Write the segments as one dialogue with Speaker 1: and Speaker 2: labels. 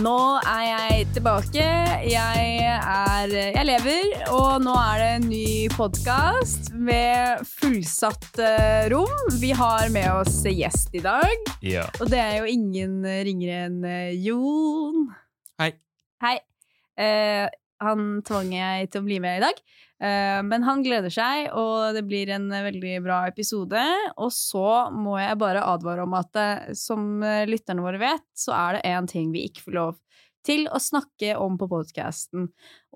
Speaker 1: Nå er jeg tilbake. Jeg, er, jeg lever, og nå er det en ny podkast med fullsatt eh, rom. Vi har med oss gjest i dag,
Speaker 2: Ja.
Speaker 1: og det er jo ingen ringere enn eh, Jon.
Speaker 2: Hei.
Speaker 1: Hei. Eh, han tvang jeg til å bli med i dag, eh, men han gleder seg, og det blir en eh, veldig bra episode. Og så må jeg bare advare om at eh, som eh, lytterne våre vet, så er det én ting vi ikke får lov til å snakke om på podkasten.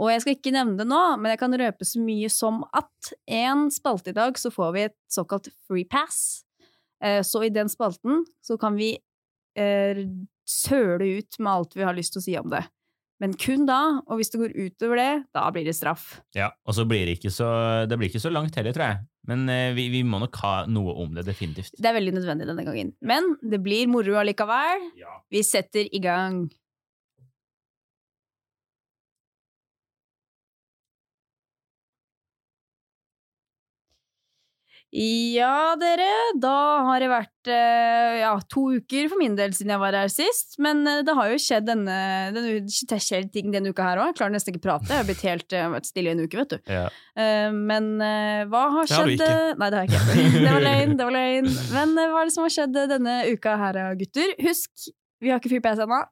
Speaker 1: Og jeg skal ikke nevne det nå, men jeg kan røpe så mye som at én spalte i dag så får vi et såkalt free pass. Eh, Så i den spalten så kan vi eh, søle ut med alt vi har lyst til å si om det. Men kun da, og hvis det går utover det, da blir det straff.
Speaker 2: ja. Og så blir det ikke så, det blir ikke så langt heller, tror jeg. Men eh, vi, vi må nok ha noe om det, definitivt.
Speaker 1: Det er veldig nødvendig denne gangen. Men det blir moro allikevel.
Speaker 2: Ja.
Speaker 1: Vi setter i gang. Ja, dere, da har det vært eh, ja, to uker for min del siden jeg var her sist. Men eh, det har jo skjedd denne, denne u- det skjer ting denne uka her òg. Jeg klarer nesten ikke å prate. Jeg har blitt helt eh, vært stille i en uke, vet du.
Speaker 2: Ja.
Speaker 1: Eh, men eh, hva har
Speaker 3: Det har du
Speaker 1: skjedd
Speaker 3: ikke.
Speaker 1: eh, Nei, det har jeg ikke. Det var løgn, det var løgn. Men eh, hva er det som har skjedd eh, denne uka her, eh, gutter? Husk, vi har ikke fyrt PS ennå.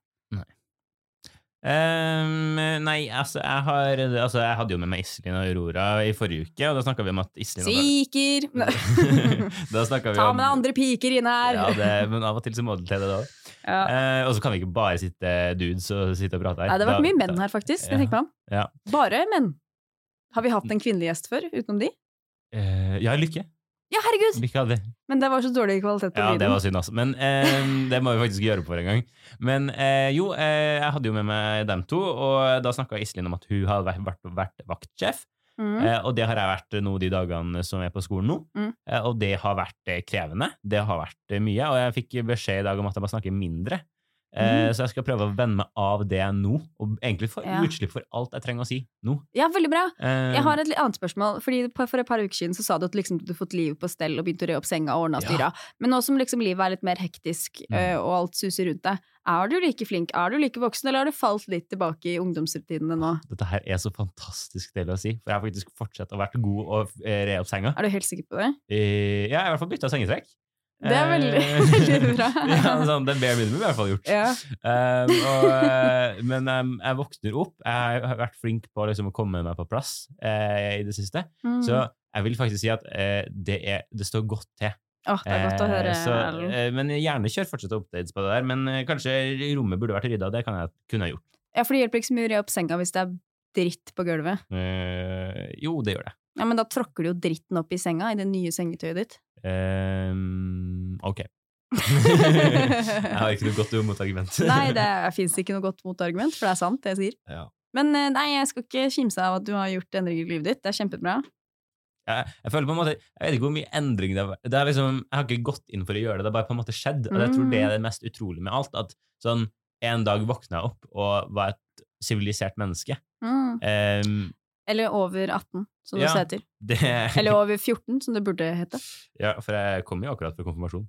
Speaker 2: Ehm, nei, altså jeg, har, altså jeg hadde jo med meg Iselin og Aurora i forrige uke, og da snakka vi om at Iselin
Speaker 1: Siker!
Speaker 2: var Da snakka vi
Speaker 1: Ta
Speaker 2: om
Speaker 1: med deg andre piker inn her!
Speaker 2: Ja, det, men av og til så må det til det, da.
Speaker 1: Ja.
Speaker 2: Eh, og så kan vi ikke bare sitte dudes og sitte og prate her.
Speaker 1: Nei, det har vært
Speaker 2: Da-
Speaker 1: mye menn her, faktisk. når jeg tenker meg om.
Speaker 2: Ja.
Speaker 1: Bare menn. Har vi hatt en kvinnelig gjest før, utenom de?
Speaker 2: Eh, ja, Lykke.
Speaker 1: Ja, herregud!
Speaker 2: Lykke hadde vi.
Speaker 1: Men det var så dårlig kvalitet på
Speaker 2: Ja, det
Speaker 1: lyden.
Speaker 2: var synd, altså. Men eh, det må vi faktisk gjøre for en gang. Men eh, jo, eh, jeg hadde jo med meg dem to, og da snakka Iselin om at hun har vært, vært, vært vaktsjef.
Speaker 1: Mm.
Speaker 2: Eh, og det har jeg vært nå de dagene som jeg er på skolen nå.
Speaker 1: Mm.
Speaker 2: Eh, og det har vært eh, krevende. Det har vært eh, mye. Og jeg fikk beskjed i dag om at jeg må snakke mindre. Eh, Så jeg skal prøve å vende meg av det nå, og egentlig få
Speaker 1: Mm. Ja.
Speaker 2: utslipp for alt jeg trenger å si nå.
Speaker 1: Ja, veldig bra.
Speaker 2: Eh,
Speaker 1: Jeg har et litt annet spørsmål. Fordi på- For et par uker siden så sa du at liksom, du hadde fått livet på stell og begynte å re opp senga og ordne og
Speaker 2: Ja.
Speaker 1: styra. Men nå som liksom, livet er litt mer hektisk,
Speaker 2: Mm.
Speaker 1: eh, og alt suser rundt deg, er du like flink, er du like voksen, eller har du falt litt tilbake i ungdomsrutinene nå?
Speaker 2: Dette her er så fantastisk deilig å si, for jeg har faktisk fortsatt å være god og eh, re opp senga.
Speaker 1: Er du helt sikker på det?
Speaker 2: Eh, ja, jeg har i hvert fall bytta sengetrekk.
Speaker 1: Det er veldig,
Speaker 2: Eh,
Speaker 1: veldig bra.
Speaker 2: ja, sånn, det bare minimum i hvert fall gjort.
Speaker 1: Ja.
Speaker 2: Eh, og, eh, men em, jeg våkner opp. Jeg har vært flink på liksom, å komme meg på plass eh, i det siste.
Speaker 1: Mm.
Speaker 2: Så jeg vil faktisk si at eh, det, er, det står godt til.
Speaker 1: Åh, det er godt å
Speaker 2: Eh,
Speaker 1: høre,
Speaker 2: så,
Speaker 1: Erlend.
Speaker 2: eh, men gjerne kjør fortsatt updates på det der. Men eh, kanskje rommet burde vært rydda. Det kan jeg kunne jeg gjort.
Speaker 1: Ja, for det hjelper ikke så mye å re opp senga hvis det er dritt på gulvet.
Speaker 2: Eh, jo, det gjør det.
Speaker 1: Ja, Men da tråkker du jo dritten opp i senga, i det nye sengetøyet ditt.
Speaker 2: Eh, ok. jeg har ikke noe godt motargument.
Speaker 1: Nei, det fins ikke noe godt motargument, for det er sant, det jeg sier.
Speaker 2: Ja.
Speaker 1: Men eh, nei, jeg skal ikke kimse av at du har gjort endringer i livet ditt. Det er kjempebra.
Speaker 2: jeg, jeg føler på en måte Jeg vet ikke hvor mye endring det har vært. Det er liksom, jeg har ikke gått inn for å gjøre det, det har bare på en måte skjedd. Og jeg tror det
Speaker 1: Mm.
Speaker 2: er det mest utrolige med alt. At sånn en dag våkna jeg opp og var et sivilisert menneske.
Speaker 1: Mm.
Speaker 2: Ehm,
Speaker 1: Eller over 18, som det
Speaker 2: Ja.
Speaker 1: heter.
Speaker 2: det
Speaker 1: Eller over 14, som det burde hete.
Speaker 2: Ja, for jeg kom jo akkurat fra konfirmasjon.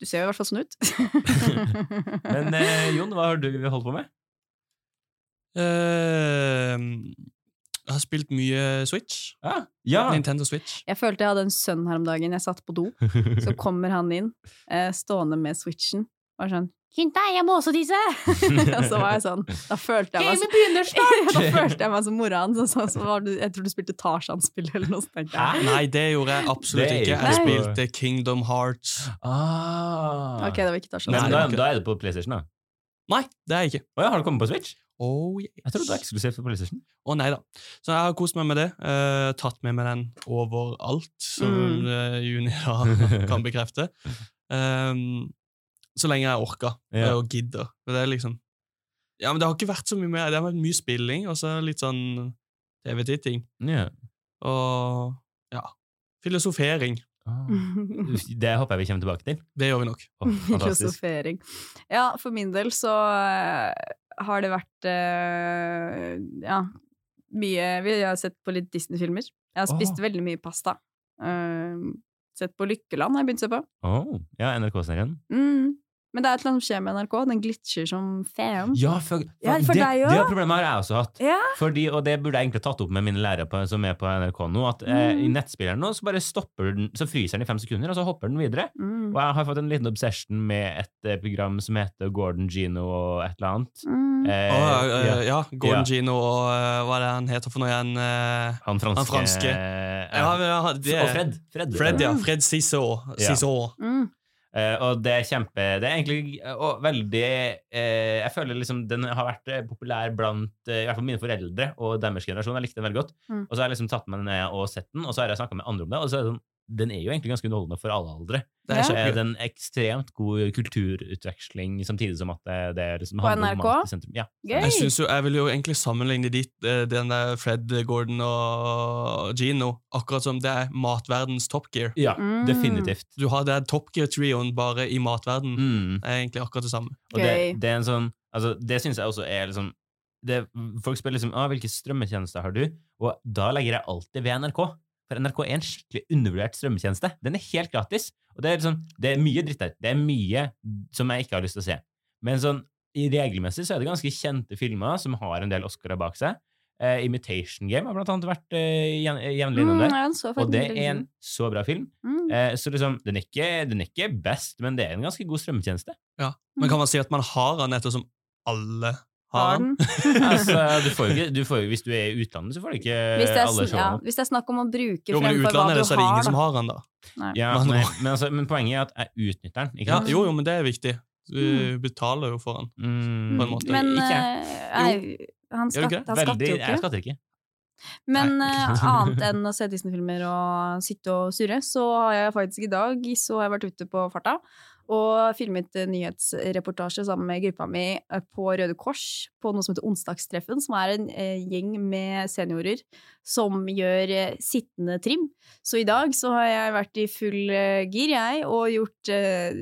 Speaker 1: Du ser jo i hvert fall sånn ut.
Speaker 2: Men eh, Jon, hva har du holdt på med?
Speaker 3: Eh, jeg har spilt mye Switch.
Speaker 2: Ja! ja.
Speaker 3: Nintendo Switch.
Speaker 1: Jeg følte jeg hadde en sønn her om dagen. Jeg satt på do, så kommer han inn, eh, stående med switchen. Var sånn 'Skynd deg, jeg må også tisse!' og så var jeg sånn. Da følte jeg meg så
Speaker 2: begynner
Speaker 1: da følte jeg meg som mora hans. og Så, så var du, jeg tror du spilte Tarzan-spill eller noe. så tenkte jeg.
Speaker 2: Hæ?
Speaker 3: Nei, det gjorde jeg absolutt
Speaker 2: Det er
Speaker 3: ikke.
Speaker 2: jo
Speaker 3: Jeg
Speaker 1: ikke-
Speaker 3: spilte Kingdom Hearts.
Speaker 2: Ah.
Speaker 1: Ok, det var ikke Tarzan.
Speaker 2: Men
Speaker 3: Nei,
Speaker 2: da,
Speaker 3: ok.
Speaker 2: da er det på PlayStation, da?
Speaker 3: Nei, det er jeg ikke.
Speaker 2: Å ja, har det kommet på Switch?
Speaker 3: Oh, yes.
Speaker 2: Jeg trodde det var eksklusivt på PlayStation.
Speaker 3: Å nei da. Så jeg har kost meg med det. eh, tatt med meg den overalt, som
Speaker 1: Mm.
Speaker 3: eh, Junia kan bekrefte. Um, så lenge jeg orker
Speaker 2: Ja.
Speaker 3: eh, og gidder. For det er liksom Ja, men det har ikke vært så mye mer. Det har vært mye spilling og så litt sånn TV-titting.
Speaker 2: Ja.
Speaker 3: Og ja Filosofering.
Speaker 2: Ah. Det håper jeg vi kommer tilbake til.
Speaker 3: Det gjør vi nok.
Speaker 2: Åh, fantastisk.
Speaker 1: Filosofering. Ja, for min del så eh, har det vært eh, ja, mye Vi har sett på litt Disney-filmer. Jeg har spist
Speaker 2: Åh.
Speaker 1: veldig mye pasta. Eh, sett på Lykkeland har jeg begynt å se på.
Speaker 2: Åh, ja, NRK-serien.
Speaker 1: Mm. Men det er et eller annet som skjer med NRK. Den glitcher som faen.
Speaker 2: Ja, for,
Speaker 1: Mhm. Ja, for
Speaker 2: det,
Speaker 1: deg
Speaker 2: det
Speaker 1: også.
Speaker 2: problemet har jeg også hatt.
Speaker 1: Ja.
Speaker 2: Fordi, og det burde jeg egentlig tatt opp med mine lærere på, som er på NRK nå, at eh, i
Speaker 1: Mm.
Speaker 2: nettspilleren nå så bare stopper den, så fryser den i fem sekunder, og så hopper den videre.
Speaker 1: Mm.
Speaker 2: Og jeg har fått en liten obsession med et eh, program som heter Gordon Gino og et eller annet.
Speaker 1: Mm.
Speaker 2: Eh,
Speaker 3: Å, ja,
Speaker 2: ja.
Speaker 3: ja, ja, Gordon
Speaker 2: Ja.
Speaker 3: Gino og eh, hva er det han heter for noe igjen? eh,
Speaker 2: Han franske,
Speaker 3: franske.
Speaker 2: eh,
Speaker 3: ja, ja, det,
Speaker 2: Og Fred. Fred,
Speaker 3: Fred, ja.
Speaker 1: Mm.
Speaker 3: Fred Cissot.
Speaker 2: Ja.
Speaker 3: Cissot.
Speaker 1: Mm.
Speaker 2: Eh, og det er kjempe Det er egentlig eh, og veldig eh, Jeg føler liksom den har vært eh, populær blant eh, i hvert fall mine foreldre og deres generasjon. Jeg likte den veldig godt.
Speaker 1: Mm.
Speaker 2: Og så har jeg liksom tatt meg den ned og sett den, og så har jeg snakka med andre om det. Og så er det sånn den er jo egentlig ganske underholdende for alle aldre.
Speaker 1: Ja.
Speaker 3: Det er
Speaker 2: Det er
Speaker 3: kjempegøy.
Speaker 2: en ekstremt god kulturutveksling, samtidig som at det, det er liksom
Speaker 1: På
Speaker 2: handler om
Speaker 1: NRK?
Speaker 2: mat i sentrum. Ja.
Speaker 1: Gøy!
Speaker 3: Jeg, synes jo, jeg vil jo egentlig sammenligne de, eh, den der Fred, Gordon og Gino akkurat som det er matverdens Top Gear.
Speaker 2: ja,
Speaker 1: Mm.
Speaker 2: definitivt.
Speaker 3: Du har det Top Gear-trioen bare i matverden.
Speaker 2: Mm.
Speaker 3: Det er egentlig akkurat det samme.
Speaker 1: Mm.
Speaker 2: Og det,
Speaker 1: Gøy.
Speaker 2: det er en sånn altså, Det syns jeg også er liksom det, Folk spør liksom ah, 'Hvilke strømmetjenester har du?' Og da legger jeg alltid ved NRK. For NRK er en skikkelig undervurdert strømmetjeneste. Den er helt gratis. Og det er, liksom, det er mye dritt der. Det er mye som jeg ikke har lyst til å se. Men sånn, i regelmessig så er det ganske kjente filmer som har en del Oscarer bak seg. Eh, 'Imitation Game' har blant annet vært eh, jevn- jevnlig innom
Speaker 1: Mm,
Speaker 2: der.
Speaker 1: ja, den så
Speaker 2: Og
Speaker 1: faktisk
Speaker 2: det
Speaker 1: veldig
Speaker 2: er en
Speaker 1: god.
Speaker 2: så bra film.
Speaker 1: Mm.
Speaker 2: Eh, så liksom, den er, ikke, den er ikke best, men det er en ganske god strømmetjeneste.
Speaker 3: Men kan man si at man har han ettersom alle har eh,
Speaker 1: Har
Speaker 3: han?
Speaker 1: den.
Speaker 2: Altså, du får jo ikke, du får jo, hvis du er i utlandet, så får du ikke
Speaker 1: Hvis det, er,
Speaker 2: alle
Speaker 1: sn- ja,
Speaker 2: showene.
Speaker 1: hvis det er snakk om å bruke
Speaker 3: Jo, men i
Speaker 1: fremfor hva du
Speaker 3: utlandet så er det
Speaker 1: har,
Speaker 3: ingen som har han, da.
Speaker 2: Ja,
Speaker 3: Men-
Speaker 2: men, men, altså, men poenget er at jeg utnytter den. Ikke
Speaker 3: Ja,
Speaker 2: sant?
Speaker 3: jo, jo, men det er viktig. Du betaler jo for han.
Speaker 2: Mm,
Speaker 3: på en måte.
Speaker 1: Men
Speaker 2: ikke jeg.
Speaker 1: eh, nei, han,
Speaker 3: Gjør du
Speaker 1: skatt,
Speaker 3: ikke?
Speaker 1: han
Speaker 2: Veldig,
Speaker 1: skatter jo
Speaker 2: jeg
Speaker 1: ikke.
Speaker 2: skatter ikke.
Speaker 1: Men
Speaker 2: Nei.
Speaker 1: eh, annet enn å se Disney-filmer og sitte og surre, så har jeg faktisk i dag så har jeg vært ute på farta og filmet eh, nyhetsreportasje sammen med gruppa mi eh, på Røde Kors på noe som heter Onsdagstreffen, som er en eh, gjeng med seniorer som gjør eh, sittende trim. Så i dag så har jeg vært i full eh, gir, jeg, og gjort eh,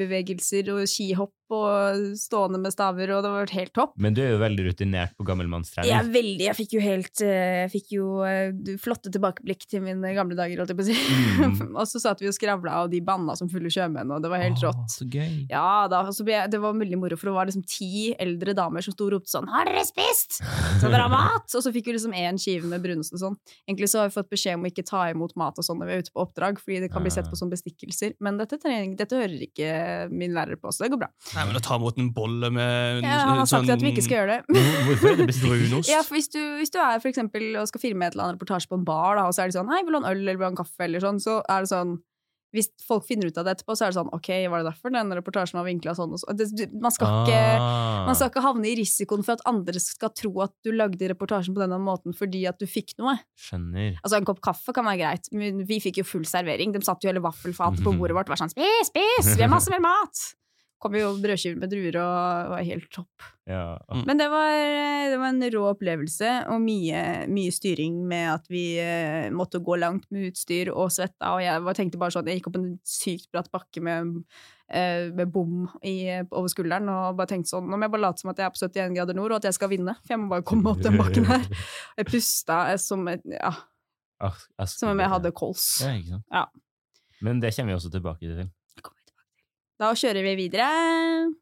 Speaker 1: nakkebevegelser og skihopp og stående med staver, og det har vært helt topp.
Speaker 2: Men du er jo veldig rutinert på
Speaker 1: Jeg er
Speaker 2: gammelmannstrening.
Speaker 1: veldig Jeg fikk jo helt eh, Jeg fikk jo eh, du- flotte tilbakeblikk til mine gamle dager, holdt jeg på å si.
Speaker 2: Mm.
Speaker 1: og så satt vi og skravla, og de banna som fulle sjømenn, og det var helt
Speaker 2: Å,
Speaker 1: rått.
Speaker 2: Så gøy.
Speaker 1: Ja da, og så ble jeg, Det var veldig moro, for det var liksom ti eldre damer som sto og ropte sånn 'Har dere spist?' Så bra mat! Og så fikk vi liksom én skive med brunost og sånn. Egentlig så har vi fått beskjed om å ikke ta imot mat og sånn når vi er ute på oppdrag, fordi det kan bli sett på som bestikkelser. Men dette, trening, dette hører ikke min lærer på, så det går bra.
Speaker 3: Nei, men å ta imot en bolle med en,
Speaker 1: Ja, han har sagt
Speaker 3: sånn
Speaker 1: at vi ikke skal gjøre det.
Speaker 2: Hvor- Hvorfor er det bestilt?
Speaker 3: brunost
Speaker 1: Ja, for hvis du, hvis du er for eksempel og skal filme et eller annet reportasje på en bar, da, og så er det sånn 'Hei, vil du ha en øl, eller vil du ha en kaffe?' eller sånn, så er det sånn Hvis folk finner ut av det etterpå, så er det sånn 'Ok, var det derfor den reportasjen var vinkla sånn?' og så. Det, du- man, skal ikke,
Speaker 2: Ah.
Speaker 1: man skal ikke havne i risikoen for at andre skal tro at du lagde reportasjen på denne måten fordi at du fikk noe.
Speaker 2: Skjønner.
Speaker 1: Altså, en kopp kaffe kan være greit, men vi fikk jo full servering. De satt jo hele vaffelfatet på bordet vårt og var sånn 'Spis, spis! Vi har masse mer mat!' Kom jo brødskiver med druer og var helt topp.
Speaker 2: Ja.
Speaker 3: Mm.
Speaker 1: Men det var, eh, det var en rå opplevelse, og mye, mye styring med at vi eh, måtte gå langt med utstyr og svetta. Og jeg var, tenkte bare sånn Jeg gikk opp en sykt bratt bakke med, eh, med bom i, over skulderen og bare tenkte sånn Nå må jeg bare late som at jeg er på 71 grader nord, og at jeg skal vinne. For jeg må bare komme meg opp den bakken her. Jeg pusta eh, som, et- ja,
Speaker 2: Ah, jeg skulle-
Speaker 1: som om jeg hadde kols.
Speaker 2: Ja, ikke sant?
Speaker 1: Ja.
Speaker 2: Men det kommer vi også tilbake til.
Speaker 1: Da kjører vi videre.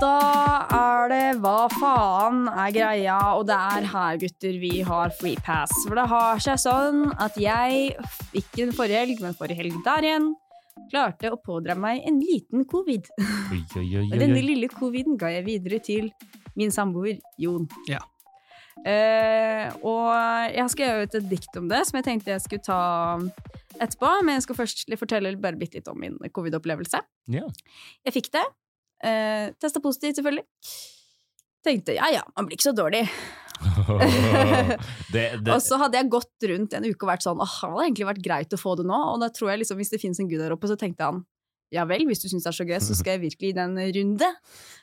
Speaker 1: Da er det hva faen er greia, og det er her, gutter, vi har free pass. For det har seg sånn at jeg, ikke den forrige helg, men forrige helg der igjen, klarte å pådra meg en liten covid.
Speaker 2: Oi, oi, oi,
Speaker 1: Og
Speaker 2: oi,
Speaker 1: denne
Speaker 2: oi.
Speaker 1: lille coviden ga jeg videre til min samboer Jon.
Speaker 3: Ja.
Speaker 1: Eh, og jeg har skrevet et dikt om det, som jeg tenkte jeg skulle ta um, etterpå. Men jeg skal først li- fortelle bare bitte litt om min covid-opplevelse.
Speaker 2: Ja.
Speaker 1: Jeg fikk det. Uh, Testa positivt, selvfølgelig. Tenkte ja ja, man blir ikke så dårlig.
Speaker 2: det,
Speaker 1: Og
Speaker 2: det,
Speaker 1: så hadde jeg gått rundt en uke og vært sånn åh, det hadde egentlig vært greit å få det nå. Og da tror jeg liksom, hvis det finnes en gud der oppe, så tenkte han ja vel, hvis du syns det er så gøy, så skal jeg virkelig gi det en runde.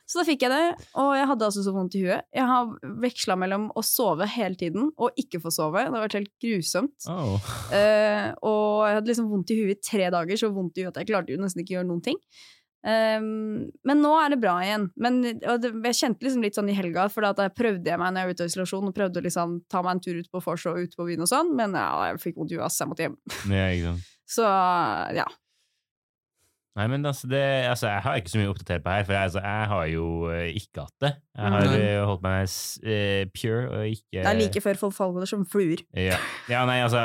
Speaker 1: Så da fikk jeg det, og jeg hadde altså så vondt i huet. Jeg har veksla mellom å sove hele tiden og ikke få sove. Det har vært helt grusomt.
Speaker 2: Åh.
Speaker 1: Eh, og jeg hadde liksom vondt i huet i tre dager, så vondt i huet at jeg klarte jo nesten ikke å gjøre noen ting. Ehm, men nå er det bra igjen. Men, og det, jeg kjente liksom litt sånn i helga, for da da prøvde jeg meg når jeg var ute av isolasjon, og prøvde å liksom ta meg en tur ut på Forsa og ut på byen og sånn, men ja, jeg fikk vondt i huet, ass, jeg måtte hjem.
Speaker 2: Ja, ikke sant.
Speaker 1: Så ja.
Speaker 2: Nei, men altså, det, altså, jeg har ikke så mye å oppdatere på her, for jeg, altså, jeg har jo eh, ikke hatt det. Jeg har
Speaker 3: Nei.
Speaker 2: eh, holdt meg s- eh, pure og ikke eh,
Speaker 1: Det er like før folk faller som fluer.
Speaker 2: ja. ja, nei, altså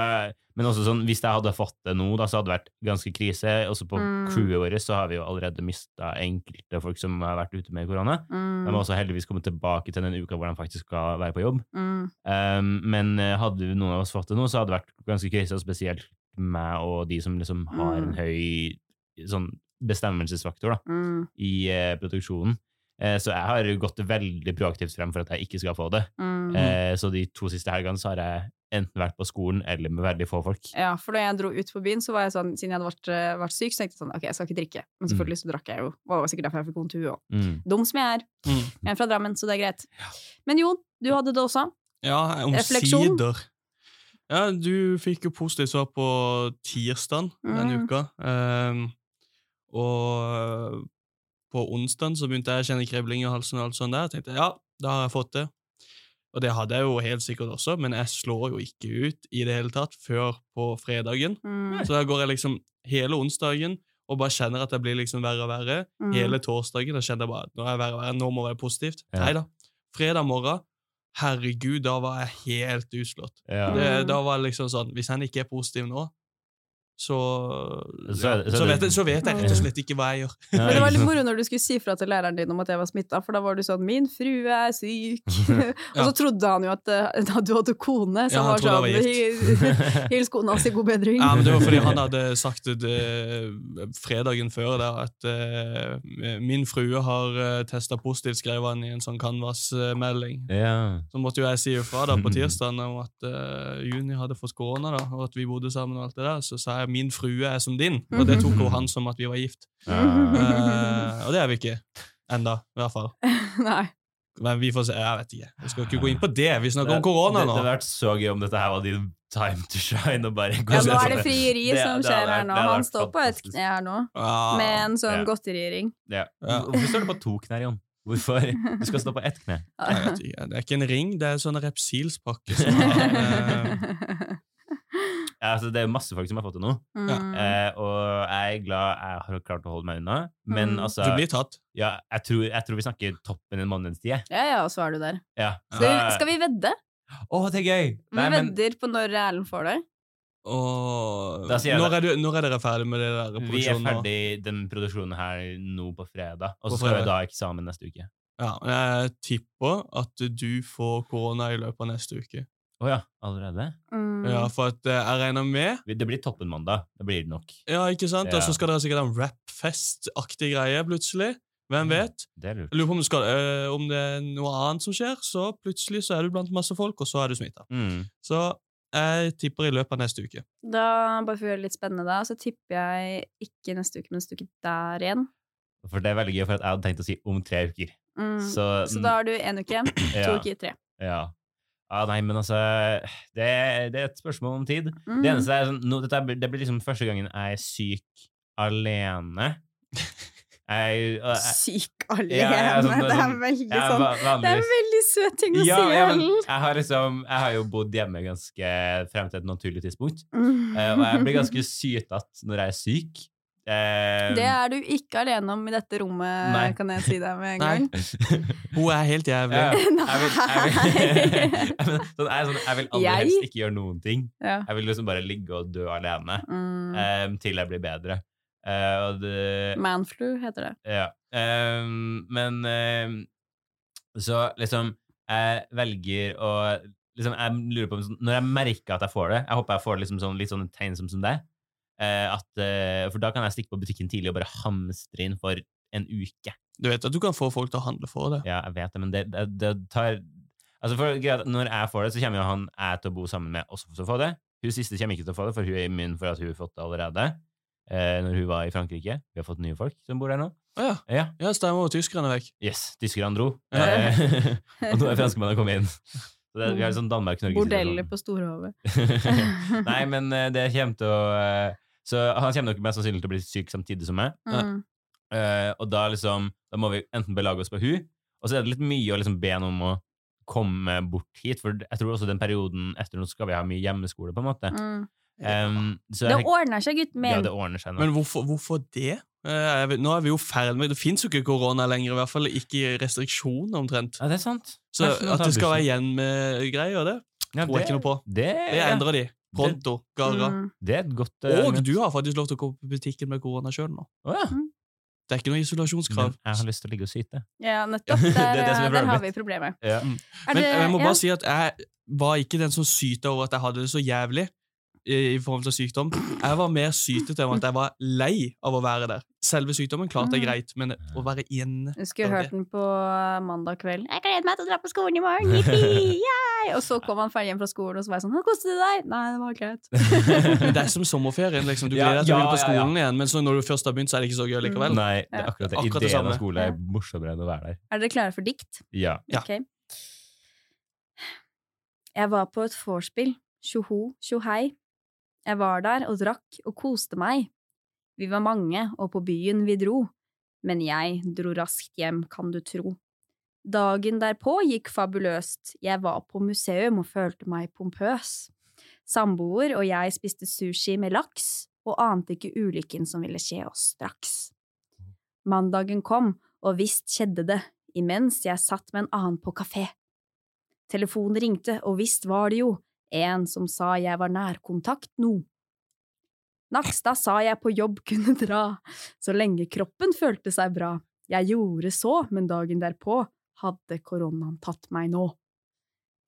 Speaker 2: Men også sånn, hvis jeg hadde fått det nå, da, så hadde det vært ganske krise. Også på
Speaker 1: Mm.
Speaker 2: crewet vårt så har vi jo allerede mista enkelte folk som har vært ute med korona. De har
Speaker 1: Mm,
Speaker 2: også heldigvis kommet tilbake til den uka hvor de faktisk skal være på jobb.
Speaker 1: mm,
Speaker 2: Um, men eh, hadde jo noen av oss fått det nå, så hadde det vært ganske krise, og spesielt meg og de som liksom har en
Speaker 1: Mm.
Speaker 2: høy sånn bestemmelsesfaktor da,
Speaker 1: mm,
Speaker 2: i eh, produksjonen. Eh, så jeg har jo gått veldig proaktivt frem for at jeg ikke skal få det.
Speaker 1: mm.
Speaker 2: Eh, så de to siste helgene så har jeg enten vært på skolen eller med veldig få folk.
Speaker 1: Ja, for da jeg dro ut på byen, så var jeg sånn, siden jeg hadde vært, eh, vært syk, så tenkte jeg sånn, ok, jeg skal ikke drikke. Men selvfølgelig så drakk jeg jo. Det var jo sikkert derfor jeg fikk vondt i huet også.
Speaker 2: Mm.
Speaker 1: Dum som jeg er.
Speaker 3: Mm.
Speaker 1: Jeg er fra Drammen, så det er greit. Men jo, du hadde det også.
Speaker 3: Ja,
Speaker 1: Refleksjon?
Speaker 3: omsider. Ja, du fikk jo positivt svar på tirsdagen denne
Speaker 1: Mm.
Speaker 3: uka. Ehm, og på onsdagen så begynte jeg å kjenne kribling i halsen og alt sånt der. Jeg tenkte ja, da har jeg fått det. Og det hadde jeg jo helt sikkert også, men jeg slår jo ikke ut i det hele tatt før på fredagen.
Speaker 1: Mm,
Speaker 3: Så da går jeg liksom hele onsdagen og bare kjenner at jeg blir liksom verre og verre.
Speaker 1: mm.
Speaker 3: Hele torsdagen da kjente jeg bare at nå, er jeg verre, og verre, nå må jeg være positivt.
Speaker 2: Ja.
Speaker 3: Neida. Fredag morgen, herregud, da var jeg helt utslått.
Speaker 2: Ja.
Speaker 3: Det,
Speaker 1: Mm.
Speaker 3: da var det liksom sånn, hvis han ikke er positiv nå, så,
Speaker 2: Så
Speaker 3: ja,
Speaker 2: er det- så er
Speaker 3: så,
Speaker 2: det-
Speaker 3: vet, jeg, så vet jeg rett og slett ikke hva jeg gjør.
Speaker 2: Ja,
Speaker 1: Men det var
Speaker 2: ikke
Speaker 1: litt
Speaker 2: sant?
Speaker 1: moro når du skulle si fra til læreren din om at jeg var smitta, for da var du sånn 'min frue er syk', og så trodde han jo at eh, du hadde kone som
Speaker 3: Ja, han
Speaker 1: var sånn
Speaker 3: trodde jeg
Speaker 1: 'hils kona si god bedring'.
Speaker 3: Ja, men det var fordi han hadde sagt det eh, fredagen før der at eh, min frue har uh, testa positivt, skrev han i en sånn Canvas-melding.
Speaker 2: ja.
Speaker 3: Så måtte jo jeg si ifra da på tirsdagen om at eh, Juni hadde fått korona, da, og at vi bodde sammen. og alt det der, Så sa jeg 'min frue er som din', og det tok jo han som at vi var gift.
Speaker 2: Ja.
Speaker 3: Eh, og det er vi ikke. Enda, i hvert fall.
Speaker 1: Nei.
Speaker 3: Men vi får se. Jeg vet ikke. Vi skal ikke gå inn på det. Vi snakker om korona
Speaker 2: Det, det
Speaker 3: nå.
Speaker 2: hadde vært så gøy om dette her var din time to shine. Og bare gå
Speaker 1: Ja,
Speaker 2: og
Speaker 1: nå
Speaker 2: se
Speaker 1: er det
Speaker 2: på
Speaker 1: frieri
Speaker 2: Det-
Speaker 1: som
Speaker 2: det hadde
Speaker 1: skjer her
Speaker 2: vært-
Speaker 1: nå.
Speaker 2: det hadde
Speaker 1: Han
Speaker 2: vært
Speaker 1: står på et
Speaker 2: fantastisk.
Speaker 1: kne her nå,
Speaker 3: Ah, Ja.
Speaker 1: med en sånn
Speaker 2: Ja.
Speaker 1: godteriring.
Speaker 2: Ja.
Speaker 3: Ja.
Speaker 2: Hvorfor står du på to knær, Jon? Hvorfor? Du skal stå på ett kne.
Speaker 3: Jeg vet ikke. Det er ikke en ring, det er en sånn repsilspakke. Som har, eh,
Speaker 2: Ja, altså, det er masse folk som har fått det nå,
Speaker 1: Mm.
Speaker 2: eh, og jeg er glad jeg har klart å holde meg unna. Men
Speaker 1: Mm.
Speaker 2: altså,
Speaker 3: du blir tatt.
Speaker 2: ja, jeg, tror, jeg tror vi snakker toppen en måneds tid. jeg.
Speaker 1: Ja, ja, og så er du der.
Speaker 2: Ja.
Speaker 1: Skal, skal vi vedde?
Speaker 2: Å, det er gøy!
Speaker 1: Vi
Speaker 2: Nei, men
Speaker 1: vedder på når Erlend får det.
Speaker 3: Og
Speaker 2: Da sier jeg
Speaker 3: når er, du, når er dere ferdig med det der
Speaker 2: vi er
Speaker 3: produksjonen? nå?
Speaker 2: ferdig den produksjonen her nå på fredag, og
Speaker 3: På
Speaker 2: så skal vi
Speaker 3: fredag.
Speaker 2: da ha eksamen neste uke.
Speaker 3: Ja, men jeg tipper at du får korona i løpet av neste uke.
Speaker 2: Å ja, allerede?
Speaker 1: Mm.
Speaker 3: Ja, for at eh, jeg regner med
Speaker 2: Vi- Det blir toppen mandag. Det blir det nok.
Speaker 3: Ja, ikke sant?
Speaker 2: Ja.
Speaker 3: Og så skal dere sikkert ha en rapfest-aktig greie plutselig. Hvem
Speaker 2: Mm.
Speaker 3: vet?
Speaker 2: Det er lurt.
Speaker 3: Jeg lurer på om, du skal, eh, om det er noe annet som skjer, så plutselig så er du blant masse folk, og så er du smitta.
Speaker 2: Mm.
Speaker 3: Så jeg tipper i løpet av neste uke.
Speaker 1: Da, bare for å gjøre det litt spennende, da, så tipper jeg ikke neste uke, men neste uke der igjen.
Speaker 2: For det er veldig gøy, for at jeg hadde tenkt å si om tre uker.
Speaker 1: Mm. Så,
Speaker 2: Så,
Speaker 1: da har du én uke, to
Speaker 2: ja,
Speaker 1: uker, tre.
Speaker 2: ja. ja, nei, men altså det, det er et spørsmål om tid.
Speaker 1: Mm.
Speaker 2: Det eneste er sånn, nå, dette blir- det blir liksom første gangen jeg er syk alene. Jeg,
Speaker 1: Mm.
Speaker 2: og jeg,
Speaker 1: Syk
Speaker 2: Ja,
Speaker 1: alene!
Speaker 2: ja, sånn-
Speaker 1: det er
Speaker 2: sånn-
Speaker 1: veldig
Speaker 2: jeg, er
Speaker 1: sånn
Speaker 2: va-
Speaker 1: Det er
Speaker 2: vanligvis
Speaker 1: en veldig søt ting å
Speaker 2: ja,
Speaker 1: si,
Speaker 2: ja, men
Speaker 1: Erlend!
Speaker 2: jeg har liksom Jeg har jo bodd hjemme ganske frem til et naturlig tidspunkt.
Speaker 1: Mm.
Speaker 2: eh, og jeg blir ganske sytete når jeg er syk. Eh,
Speaker 1: Det er du ikke alene om i dette rommet,
Speaker 2: Nei.
Speaker 1: kan jeg si deg med en
Speaker 3: Nei.
Speaker 1: gang.
Speaker 3: Hun er helt jævlig.
Speaker 2: Ja, jeg, vil, jeg, vil,
Speaker 1: Nei.
Speaker 2: jeg, vil, sånn, jeg, er sånn, jeg vil aller
Speaker 1: Jeg?
Speaker 2: helst ikke gjøre noen ting.
Speaker 1: Ja.
Speaker 2: Jeg vil liksom bare ligge og dø alene
Speaker 1: Mm.
Speaker 2: eh, til jeg blir bedre. Eh, og det,
Speaker 1: Manflu heter det.
Speaker 2: Ja. Ehm, men ehm, Så liksom Jeg velger å liksom, Jeg lurer på om sånn- Når jeg merker at jeg får det Jeg håper jeg får det liksom sånn, litt sånn tegn som, som deg. eh, at, eh, for da kan jeg stikke på butikken tidlig og bare hamstre inn for en uke.
Speaker 3: Du vet at du kan få folk til å handle for deg.
Speaker 2: Ja, jeg vet det, men det, det, det tar Altså for greia er at Når jeg får det, så kommer jo han jeg til å bo sammen med, også til å få det. Hun siste kommer ikke til å få det, for hun er immun for at hun har fått det allerede. Eh, når hun var i Frankrike. Vi har fått nye folk som bor der nå.
Speaker 3: Å ja.
Speaker 2: Ja,
Speaker 3: ja, stemmer. Og tyskerne er vekk.
Speaker 2: Yes, tyskerne dro.
Speaker 3: Ja.
Speaker 2: Eh, og nå er franskmennene kommet inn. Så det er, vi har
Speaker 1: Bordellet
Speaker 2: sånn Danmark-Norge-situasjon.
Speaker 1: på Storhovet.
Speaker 2: Nei, men eh, det kommer til å eh, Så han kommer nok mest sannsynlig til å bli syk samtidig som meg.
Speaker 1: Mm.
Speaker 2: Eh, og da liksom, da må vi enten belage oss på hun, og så er det litt mye å liksom be henne om å komme bort hit, for jeg tror også den perioden etter nå skal vi ha mye hjemmeskole, på en måte.
Speaker 1: Mm.
Speaker 2: Em, eh, så
Speaker 1: Det
Speaker 2: jeg, tenker-
Speaker 1: ordner seg, gutten
Speaker 2: ja,
Speaker 1: min.
Speaker 2: det ordner seg nå.
Speaker 3: Men hvorfor, hvorfor det? Eh, jeg vet, nå er vi jo ferdig med Det fins jo ikke korona lenger, i hvert fall ikke i restriksjoner omtrent.
Speaker 2: ja, det er sant.
Speaker 3: Så
Speaker 2: Kanskje noen
Speaker 3: at
Speaker 2: tar
Speaker 3: du skal
Speaker 2: bussen.
Speaker 3: være igjen med greier, det
Speaker 2: ja,
Speaker 3: tror jeg ikke noe på.
Speaker 2: Det,
Speaker 3: Det
Speaker 2: ja,
Speaker 3: endrer de. Pronto. Gara.
Speaker 1: Mm.
Speaker 2: det er et godt eh,
Speaker 3: Og
Speaker 2: argument.
Speaker 3: du har faktisk lov til å gå på butikken med korona sjøl nå.
Speaker 2: Å, ja.
Speaker 3: Det er ikke noe isolasjonskrav.
Speaker 2: Men jeg har lyst til å ligge og syte.
Speaker 1: Ja, nettopp. Der, eh,
Speaker 2: Det er det som er
Speaker 1: der har
Speaker 2: problemet
Speaker 1: vi problemet.
Speaker 2: Ja.
Speaker 1: Er
Speaker 3: Mm. Men jeg må bare si at jeg var ikke den som syta over at jeg hadde det så jævlig i i forhold til sykdom. Jeg var mer sytete om at jeg var lei av å være der. Selve sykdommen klarte jeg greit, men å være inne
Speaker 1: Jeg skulle
Speaker 3: Sorry.
Speaker 1: hørt den på mandag kveld. 'Jeg gleder meg til å dra på skolen i morgen!' Yippee! Yay! Og så kom han ferdig hjem fra skolen, og så var jeg sånn 'Hva koste det deg?' Nei, det var greit.
Speaker 3: Men det er som sommerferien, liksom. Du
Speaker 2: Ja,
Speaker 3: gleder deg til
Speaker 2: ja,
Speaker 3: å begynne på
Speaker 2: ja, ja.
Speaker 3: skolen igjen, men så når du først har begynt, så er det ikke så gøy likevel.
Speaker 2: Nei, det er akkurat det.
Speaker 3: Akkurat det
Speaker 2: Ideen av
Speaker 3: samme.
Speaker 2: skole er morsommere enn å være der.
Speaker 1: Er dere klare for dikt?
Speaker 2: Ja.
Speaker 3: Ja.
Speaker 1: Ok. Jeg var på et vorspiel. Tjoho, tjohei. Jeg var der og drakk og koste meg. Vi var mange, og på byen vi dro. Men jeg dro raskt hjem, kan du tro. Dagen derpå gikk fabuløst. Jeg var på museum og følte meg pompøs. Samboer og jeg spiste sushi med laks, og ante ikke ulykken som ville skje oss straks. Mandagen kom, og visst skjedde det, imens jeg satt med en annen på kafé. Telefonen ringte, og visst var det jo en som sa jeg var nærkontakt nå. Nakstad sa jeg på jobb kunne dra, så lenge kroppen følte seg bra. Jeg gjorde så, men dagen derpå hadde koronaen tatt meg nå.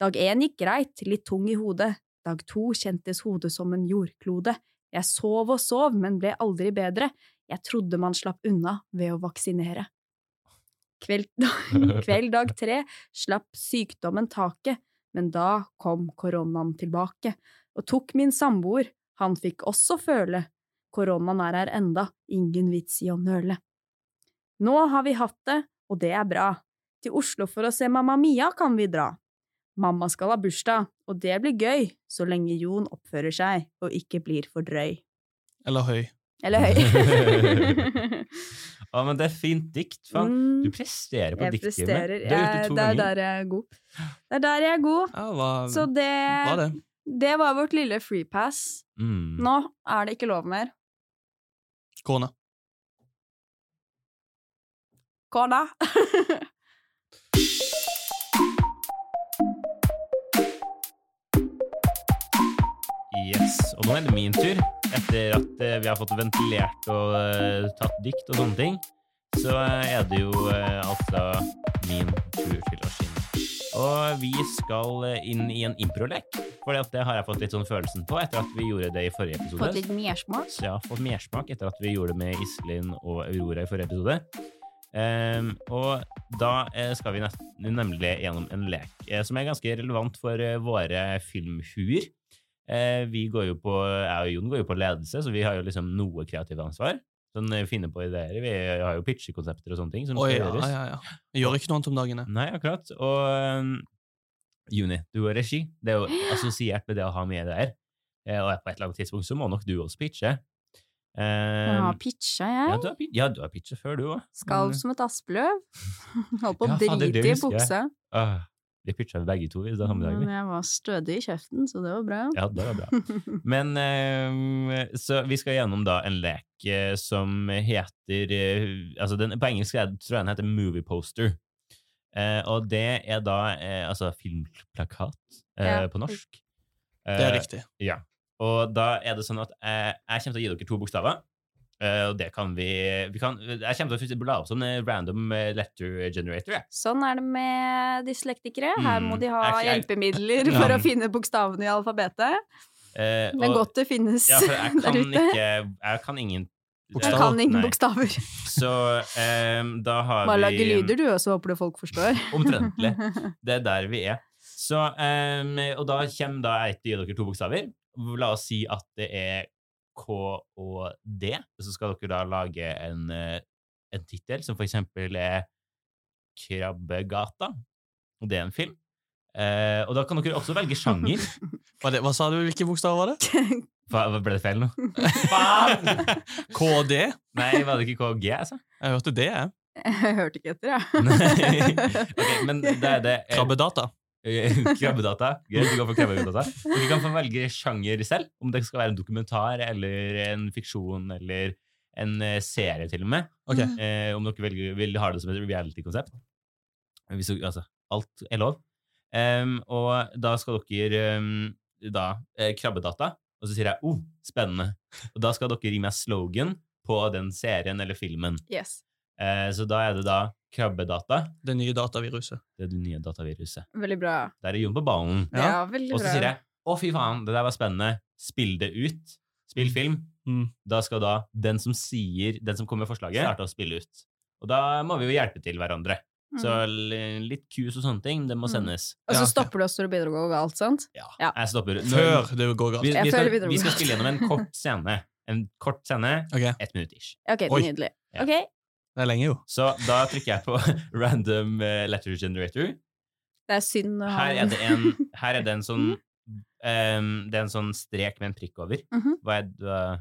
Speaker 1: Dag én gikk greit, litt tung i hodet, dag to kjentes hodet som en jordklode. Jeg sov og sov, men ble aldri bedre, jeg trodde man slapp unna ved å vaksinere. Kveld, kveld dag tre slapp sykdommen taket, men da kom koronaen tilbake og tok min samboer, han fikk også føle. Koronaen er her enda, ingen vits i å nøle. Nå har vi hatt det, og det er bra. Til Oslo for å se Mamma Mia kan vi dra. Mamma skal ha bursdag, og det blir gøy, så lenge Jon oppfører seg og ikke blir for drøy.
Speaker 3: Eller høy.
Speaker 1: Eller høy.
Speaker 2: Å, men det er fint dikt, faen.
Speaker 1: Mm,
Speaker 2: Du presterer på
Speaker 1: jeg
Speaker 2: dikttimen.
Speaker 1: presterer.
Speaker 2: Du
Speaker 1: Jeg-
Speaker 2: har gjort det to
Speaker 1: det er
Speaker 2: ganger.
Speaker 1: der jeg er god. Det er der jeg er god.
Speaker 3: Ja, hva-
Speaker 1: Så
Speaker 3: Bra,
Speaker 1: det,
Speaker 3: det.
Speaker 1: det var vårt lille freepass.
Speaker 2: Mm.
Speaker 1: Nå er det ikke lov mer.
Speaker 3: Korona.
Speaker 1: Kona!
Speaker 2: Yes, og nå er det min tur. Etter at eh, vi har fått ventilert og eh, tatt dikt og sånne ting, så eh, er det jo eh, altså min tur til å skinne. Og vi skal eh, inn i en improlek, for det har jeg fått litt sånn følelsen på etter at vi gjorde det i forrige episode.
Speaker 1: Fått litt mersmak.
Speaker 2: Så jeg har fått mersmak etter at vi gjorde det med Iselin og Aurora i forrige episode. Ehm, og da eh, skal vi nest- nemlig gjennom en lek eh, som er ganske relevant for eh, våre filmhuer. Eh, vi går jo på, jeg og Jon går jo på ledelse, så vi har jo liksom noe kreativt ansvar. Sånn eh, finne på ideer. Vi har jo pitchekonsepter og sånne ting som
Speaker 3: Å
Speaker 2: skal
Speaker 3: ja,
Speaker 2: gjøres.
Speaker 3: ja, ja. Jeg gjør ikke noe annet om dagene.
Speaker 2: Nei, akkurat. Og ehm, Juni, du har regi. Det er jo assosiert med det å ha med ideer. Eh, og på et eller annet tidspunkt så må nok du også pitche.
Speaker 1: Jeg
Speaker 2: Um,
Speaker 1: har pitcha,
Speaker 2: ja,
Speaker 1: jeg.
Speaker 2: du har, pit- ja, du har pitcha før, du òg.
Speaker 1: Skalv som et aspeløv. Holdt på å
Speaker 2: Ja, faen, det er det
Speaker 1: drite i
Speaker 2: husker jeg.
Speaker 1: buksa.
Speaker 2: Ah, Vi pitcha begge to i det samme dagen.
Speaker 1: Men
Speaker 2: vi.
Speaker 1: jeg var stødig i kjeften, så det var bra.
Speaker 2: Ja, det var bra. Men eh, så vi skal gjennom da en lek eh, som heter eh, altså den, På engelsk er, det- tror jeg den heter Movie Poster. Eh, og det er da eh, altså filmplakat eh,
Speaker 1: Ja.
Speaker 2: på norsk.
Speaker 3: Det er
Speaker 2: Eh,
Speaker 3: riktig.
Speaker 2: Og da er det sånn at jeg, jeg kommer til å gi dere to bokstaver. eh, og det kan vi, vi kan, Jeg kommer til å bla opp sånn eh, random eh, letter generator. Jeg.
Speaker 1: Sånn er det med dyslektikere. Her må
Speaker 2: Mm,
Speaker 1: de ha
Speaker 2: jeg- jeg-
Speaker 1: hjelpemidler for
Speaker 2: Ja.
Speaker 1: å finne bokstavene i alfabetet.
Speaker 2: Eh,
Speaker 1: Men
Speaker 2: og-
Speaker 1: godt det finnes
Speaker 2: Ja, for jeg
Speaker 1: der
Speaker 2: kan
Speaker 1: ute.
Speaker 2: ikke Jeg kan ingen
Speaker 1: Jeg
Speaker 3: Bokstaver.
Speaker 1: kan ingen
Speaker 2: Nei.
Speaker 1: bokstaver.
Speaker 2: Så ehm, da har
Speaker 1: Bare
Speaker 2: vi
Speaker 1: lage lyder, du, og så håper du folk forstår.
Speaker 2: Omtrentlig. Det er der vi er. Så, ehm, og da kommer da jeg til å gi dere to bokstaver. La oss si at det er K og D. Så skal dere da lage en, eh, en tittel som for eksempel er Krabbegata. Og det er en film. Eh, og da kan dere også velge sjanger.
Speaker 3: Hva, det, hva sa du? Hvilke bokstaver var det?
Speaker 2: Fa- hva- Ble det feil nå?
Speaker 3: Faen! KD?
Speaker 2: Nei, var det ikke altså? KG jeg sa?
Speaker 3: Jeg hørte det, jeg.
Speaker 1: Jeg hørte ikke etter, jeg.
Speaker 2: Ok, men det er det. eh,
Speaker 3: Krabbedata.
Speaker 2: Krabbedata. Greit, du kan få krabbedata. Dere kan få velge sjanger selv, om det skal være en dokumentar eller en fiksjon eller en eh, serie til og med.
Speaker 3: Ok.
Speaker 2: Eh, om dere velger, vil ha det som et reality-konsept. Hvis dere- Altså, alt er lov. Em, og da skal dere em, da eh, krabbedata, og så sier jeg 'oh, spennende'. Og da skal dere gi meg slogan på den serien eller filmen.
Speaker 1: Yes.
Speaker 2: Eh, så da er det da krabbedata.
Speaker 3: Det nye dataviruset.
Speaker 2: Det er det nye dataviruset.
Speaker 1: Veldig bra.
Speaker 2: Der er Jon på ballen.
Speaker 1: Ja,
Speaker 3: Ja,
Speaker 1: veldig bra.
Speaker 2: Og så sier jeg 'Å, fy faen, det der var spennende'. Spill det ut. Spill film.
Speaker 3: Mm.
Speaker 2: Da skal da den som sier, den som kommer med forslaget, starte å spille ut. Og da må vi jo hjelpe til hverandre. Så
Speaker 1: Mm.
Speaker 2: l- litt kus og sånne ting, det må
Speaker 1: Mm.
Speaker 2: sendes.
Speaker 1: Og
Speaker 3: Ja.
Speaker 1: så stopper det oss når det begynner å gå galt, sant? Ja.
Speaker 2: Jeg stopper. Nå-
Speaker 3: Før det går
Speaker 2: Vi,
Speaker 3: galt.
Speaker 1: Jeg føler
Speaker 2: vi, skal,
Speaker 1: vi drar
Speaker 2: vi skal
Speaker 1: bort.
Speaker 2: spille gjennom en kort scene. En kort scene,
Speaker 3: Ok,
Speaker 2: ett minutt ish.
Speaker 1: Ok,
Speaker 3: Oi.
Speaker 1: nydelig.
Speaker 2: Ja.
Speaker 1: Ok,
Speaker 3: det er lenge jo.
Speaker 2: Så da trykker jeg på random eh, letter generator.
Speaker 1: det er synd å ha
Speaker 2: Her er det en, her er det en sånn em, Det er en sånn strek med en prikk over.
Speaker 1: Mhm.
Speaker 2: Hva er det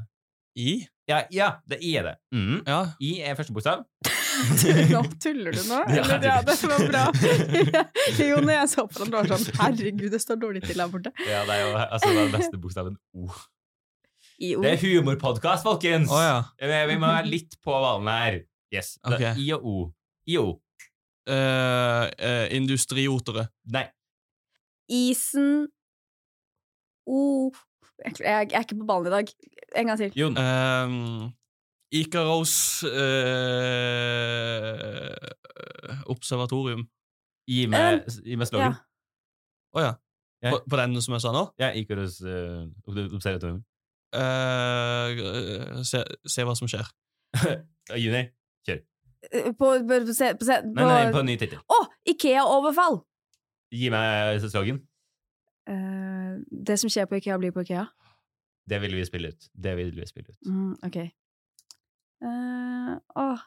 Speaker 3: I?
Speaker 2: Ja, ja det er I er det. Mhm.
Speaker 3: Ja.
Speaker 2: I er første bokstav.
Speaker 1: Nå tuller du nå?
Speaker 2: Ja,
Speaker 1: Eller, ja, det var bra.
Speaker 2: herregud.
Speaker 1: Jo, når jeg så på den, det var sånn Herregud, det står dårlig til her borte.
Speaker 2: Ja, det er jo altså, det er den beste bokstaven O.
Speaker 1: I ord.
Speaker 2: Det er humorpodkast, folkens!
Speaker 3: Å ja.
Speaker 2: Eh, Vi må være litt på ballen her. Yes. Det er
Speaker 3: Ok.
Speaker 2: I og O. I og O.
Speaker 3: Eh, eh, industriotere.
Speaker 2: Nei.
Speaker 1: Isen O jeg, jeg er ikke på ballen i dag. En gang til.
Speaker 2: Jon.
Speaker 3: Um, Ikaros eh, observatorium.
Speaker 2: Gi meg, gi meg slogan.
Speaker 3: Å ja. På, på den som jeg sa nå?
Speaker 2: Ja, Ikaros uh, observatorium.
Speaker 3: Eh, se, se hva som skjer.
Speaker 2: Uh, juni.
Speaker 1: Eh, På, på, på, se- på, se-
Speaker 2: Nei, nei, på
Speaker 1: på
Speaker 2: en ny tittel.
Speaker 1: Å! Ikea-overfall!
Speaker 2: Gi meg slogan.
Speaker 1: Eh, det som skjer på Ikea, blir på Ikea.
Speaker 2: Det ville vi spille ut. Det ville vi spille ut.
Speaker 1: Mm, ok. Eh, åh.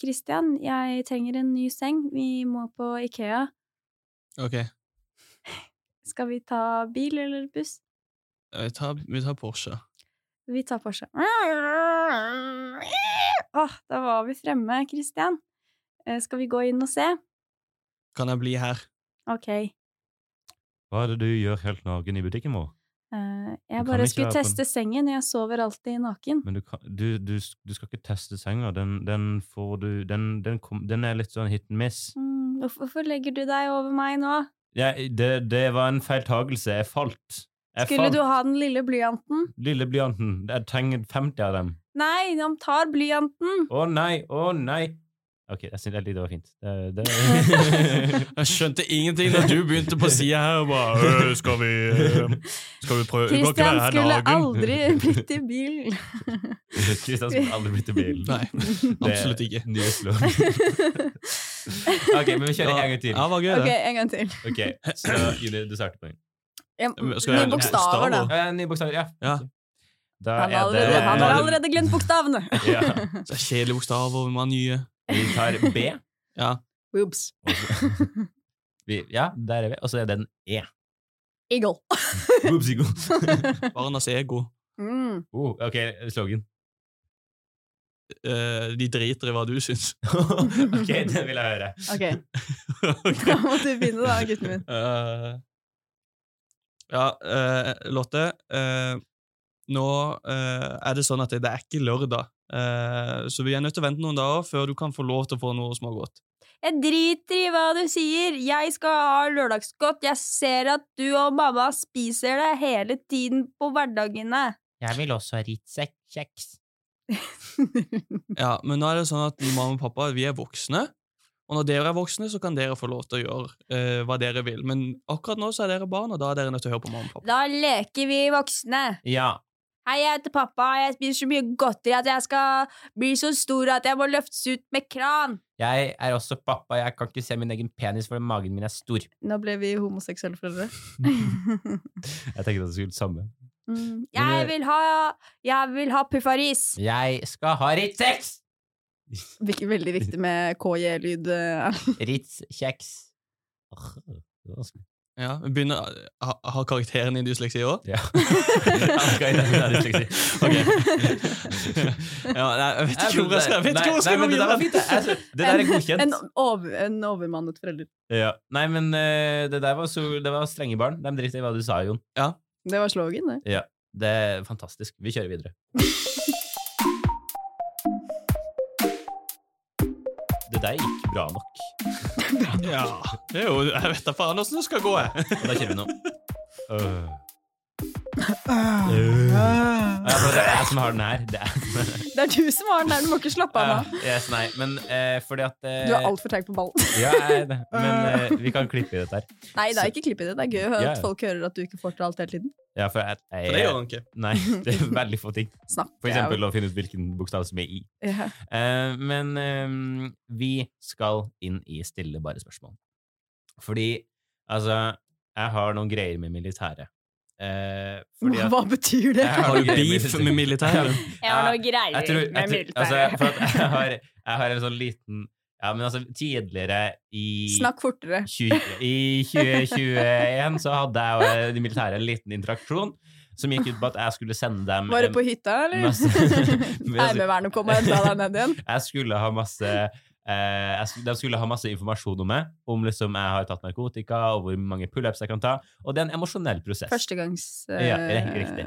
Speaker 1: Christian, jeg trenger en ny seng. Vi må på Ikea.
Speaker 3: Ok,
Speaker 1: Skal vi ta bil eller buss?
Speaker 3: vi tar, vi tar Porsche.
Speaker 1: Vi tar Porsche. Åh, da var vi fremme, Christian. Eh, skal vi gå inn og se?
Speaker 3: Kan jeg bli her?
Speaker 1: Ok. eh,
Speaker 2: Hva er det du gjør helt naken i butikken vår?
Speaker 1: Eh, jeg
Speaker 2: kan
Speaker 1: bare
Speaker 2: ikke
Speaker 1: skulle
Speaker 2: være på
Speaker 1: teste sengen. Jeg sover alltid naken.
Speaker 2: Men du, kan, du, du, du skal ikke teste senga. Den, den får du den, den, kom, den er litt sånn hit and miss.
Speaker 1: Mm, hvorfor- hvorfor legger du deg over meg nå?
Speaker 2: Ja, det, det var en feiltagelse. Jeg falt. Jeg
Speaker 1: Skulle
Speaker 2: falt.
Speaker 1: du ha den lille blyanten?
Speaker 2: Lille blyanten. Jeg trenger 50 av dem.
Speaker 1: Nei, han tar blyanten!
Speaker 2: Å nei, å nei. Ok, jeg synes det var fint. Det, det.
Speaker 3: Jeg skjønte ingenting da du begynte på sida her. og bare, «Øh, Skal vi, øh, skal vi prøve Kan ikke
Speaker 1: Christian
Speaker 3: være her
Speaker 1: skulle
Speaker 3: naken?»
Speaker 1: aldri blitt i bilen.
Speaker 2: Kristian skulle aldri blitt i bilen.
Speaker 3: Nei, absolutt ikke.
Speaker 2: Nye slogan. Ok, men vi kjører en gang til.
Speaker 3: Ja, var gøy,
Speaker 1: ok,
Speaker 3: det.
Speaker 1: en gang til.
Speaker 2: Ok, så Julie, du starter på den.
Speaker 1: Ja,
Speaker 3: Men skal jeg-
Speaker 1: Nye bokstaver, da.
Speaker 2: Ja, nye bokstaver, ja.
Speaker 3: Ja.
Speaker 2: Da
Speaker 1: Han har
Speaker 2: er det
Speaker 1: allerede, han har
Speaker 3: er det-
Speaker 1: allerede glemt bokstavene!
Speaker 2: Ja.
Speaker 3: Så Kjedelige bokstaver, vi må ha nye.
Speaker 2: Vi tar B.
Speaker 3: Ja.
Speaker 1: Oops.
Speaker 2: og så- Vi, ja, der er vi. Og så er det en E.
Speaker 1: Eagle.
Speaker 2: Boopsigo.
Speaker 3: Barnas ego.
Speaker 1: Mm.
Speaker 2: Oh, ok, slogan.
Speaker 3: Eh, de driter i hva du syns.
Speaker 2: ok, den vil jeg høre.
Speaker 1: Ok,
Speaker 3: Ok.
Speaker 1: da må du begynne da, gutten min.
Speaker 3: Eh, ja, eh, Lotte. eh, nå eh, er det sånn at det, det er ikke lørdag, eh, så vi er nødt til å vente noen dager før du kan få lov til å få noe smågodt.
Speaker 1: Jeg driter i hva du sier. Jeg skal ha lørdagsgodt. Jeg ser at du og mamma spiser det hele tiden på hverdagene.
Speaker 2: Jeg vil også ha Ritz-kjeks.
Speaker 3: Ja, men nå er det sånn at mamma og pappa vi er voksne, og når dere er voksne, så kan dere få lov til å gjøre eh, hva dere vil. Men akkurat nå så er dere barn, og da er dere nødt til å høre på mamma og pappa.
Speaker 1: Da leker vi voksne.
Speaker 2: Ja.
Speaker 1: Hei, jeg heter pappa. Jeg spiser så mye godteri at jeg skal bli så stor at jeg må løftes ut med kran.
Speaker 2: Jeg er også pappa. Jeg kan ikke se min egen penis fordi magen min er stor.
Speaker 1: Nå ble vi homoseksuelle foreldre.
Speaker 2: Jeg tenkte at det skulle samme.
Speaker 1: Mm.
Speaker 2: Men, eh,
Speaker 1: Jeg vil ha Jeg vil ha puffaris.
Speaker 2: Jeg skal ha Ritz-kjeks!
Speaker 1: Veldig viktig med KJ-lyd.
Speaker 2: Ritz-kjeks. Åh, det var vanskelig.
Speaker 3: Ja, begynner, ha, Har karakteren din dysleksi òg?
Speaker 2: Ja. Han skal identifisere dysleksi.
Speaker 3: Ok. ja, nei, jeg vet ikke hvor jeg skal, jeg
Speaker 2: Nei,
Speaker 3: vet ikke hvor jeg skal
Speaker 2: nei,
Speaker 3: gå
Speaker 2: men det der var
Speaker 3: videre.
Speaker 2: fint, det. Jeg synes- Det der er godkjent.
Speaker 1: En, over, en overmannet forelder.
Speaker 2: Ja. Nei, men eh, det der var, så, det var strenge barn. De driter i hva du sa, Jon.
Speaker 1: Det var slogan, det.
Speaker 2: Det er fantastisk. Vi kjører videre. Det der gikk bra nok.
Speaker 3: Ja, det er jo, jeg vet da faen åssen det skal gå, jeg.
Speaker 2: Og da kjører vi nå. Øh.
Speaker 1: Ah.
Speaker 2: Ja, for det er jeg som har den her. Det er,
Speaker 1: Det er du som har den der, du må ikke slappe av
Speaker 2: ja,
Speaker 1: nå.
Speaker 2: yes, nei, men eh, fordi at eh,
Speaker 1: Du er altfor treig på ballen.
Speaker 2: Ja, jeg er det. Men eh, vi kan klippe i dette her.
Speaker 1: Nei, det er ikke klipp i det. Det er gøy å høre
Speaker 2: Ja,
Speaker 1: at
Speaker 2: ja.
Speaker 1: folk hører at du ikke får til alt hele tiden.
Speaker 2: Ja, for jeg, jeg,
Speaker 3: For det gjør han ikke.
Speaker 2: Nei, det er veldig få ting.
Speaker 1: Snakk.
Speaker 2: For eksempel å finne ut hvilken bokstav som er i.
Speaker 1: Ja.
Speaker 2: Eh, men ehm, vi skal inn i stille bare spørsmål. Fordi, altså, jeg har noen greier med militæret. Eh, fordi at
Speaker 1: Hva betyr det?
Speaker 2: Jeg har noen greier
Speaker 3: Beef med militæret.
Speaker 2: Jeg har noe
Speaker 1: greier
Speaker 2: jeg tror, jeg, tror- altså, for at jeg, har, jeg har en sånn liten Ja, men altså, tidligere i
Speaker 1: Snakk fortere.
Speaker 2: 20, I 2021 så hadde jeg og eh, de militære en liten interaksjon som gikk ut på at jeg skulle sende dem
Speaker 1: Var det
Speaker 2: en-
Speaker 1: på hytta, eller?
Speaker 2: masse-
Speaker 1: Heimevernet kom og henta deg ned igjen?
Speaker 2: jeg skulle ha masse eh, jeg skulle, De skulle ha masse informasjon om meg, om liksom jeg har tatt narkotika, og hvor mange pullups jeg kan ta. Og det er en emosjonell prosess.
Speaker 1: Førstegangs...
Speaker 2: Ja, riktig, riktig.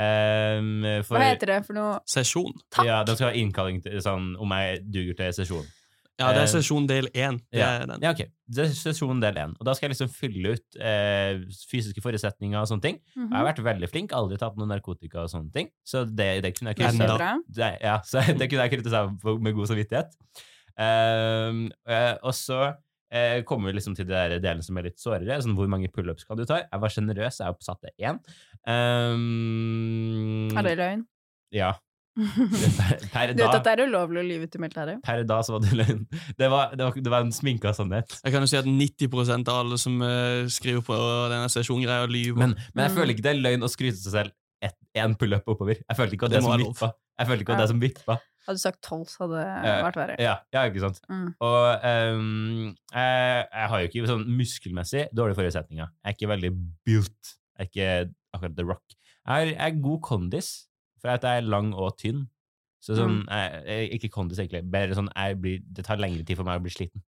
Speaker 2: Ehm, for,
Speaker 1: eh, Hva heter det for noe?
Speaker 3: Sesjon.
Speaker 1: Takk!
Speaker 2: Ja, de skal ha innkalling til sånn om jeg duger til sesjon.
Speaker 3: Ja, det
Speaker 2: Eh,
Speaker 3: er sesjon del én. Det
Speaker 2: ja.
Speaker 3: er den.
Speaker 2: Ja, ok. Det er sesjon del én. Og da skal jeg liksom fylle ut eh, fysiske forutsetninger og sånne ting. Og Jeg har vært veldig flink, aldri tatt noe narkotika og sånne ting. Så det, det kunne jeg
Speaker 1: Mhm.
Speaker 2: krysse
Speaker 3: Enda.
Speaker 1: Så
Speaker 2: av.
Speaker 1: bra.
Speaker 2: det, ja, så det kunne jeg knytte seg på med god samvittighet. Ehm, eh, og så eh, kommer vi liksom til den delen som er litt sårere. Sånn, hvor mange pullups kan du ta? Jeg var sjenerøs, jeg oppsatte én. Ehm,
Speaker 1: Er det løgn?
Speaker 2: Ja.
Speaker 1: Du
Speaker 2: Per, per,
Speaker 1: vet at
Speaker 2: dag,
Speaker 1: det er ulovlig å lyve til militæret?
Speaker 2: per dag så var det løgn. Det var, det var, det var en sminka sannhet.
Speaker 3: Jeg kan jo si at 90 av alle som eh, skriver på denne sesjongreia, lyver.
Speaker 2: Men, men jeg
Speaker 1: Mm.
Speaker 2: føler ikke det er løgn å skryte seg selv ett- én pullup oppover. Jeg følte ikke at
Speaker 3: Det
Speaker 2: det,
Speaker 3: må
Speaker 2: som
Speaker 3: være lov.
Speaker 2: vippa. Jeg følte ikke at
Speaker 1: Ja.
Speaker 2: det som vippa.
Speaker 1: Hadde du sagt tolv, så hadde det
Speaker 2: Eh,
Speaker 1: vært verre.
Speaker 2: Ja, ja, ikke sant?
Speaker 1: Mm.
Speaker 2: Og ehm, jeg, jeg har jo ikke sånn muskelmessig dårlige forutsetninger. Jeg er ikke veldig built. Jeg er ikke akkurat The Rock. Jeg, har, jeg er god kondis, for at jeg er lang og tynn. Så sånn,
Speaker 1: Mm.
Speaker 2: jeg, jeg, ikke kondis, egentlig. Bare sånn, jeg blir, det tar lengre tid for meg å bli sliten.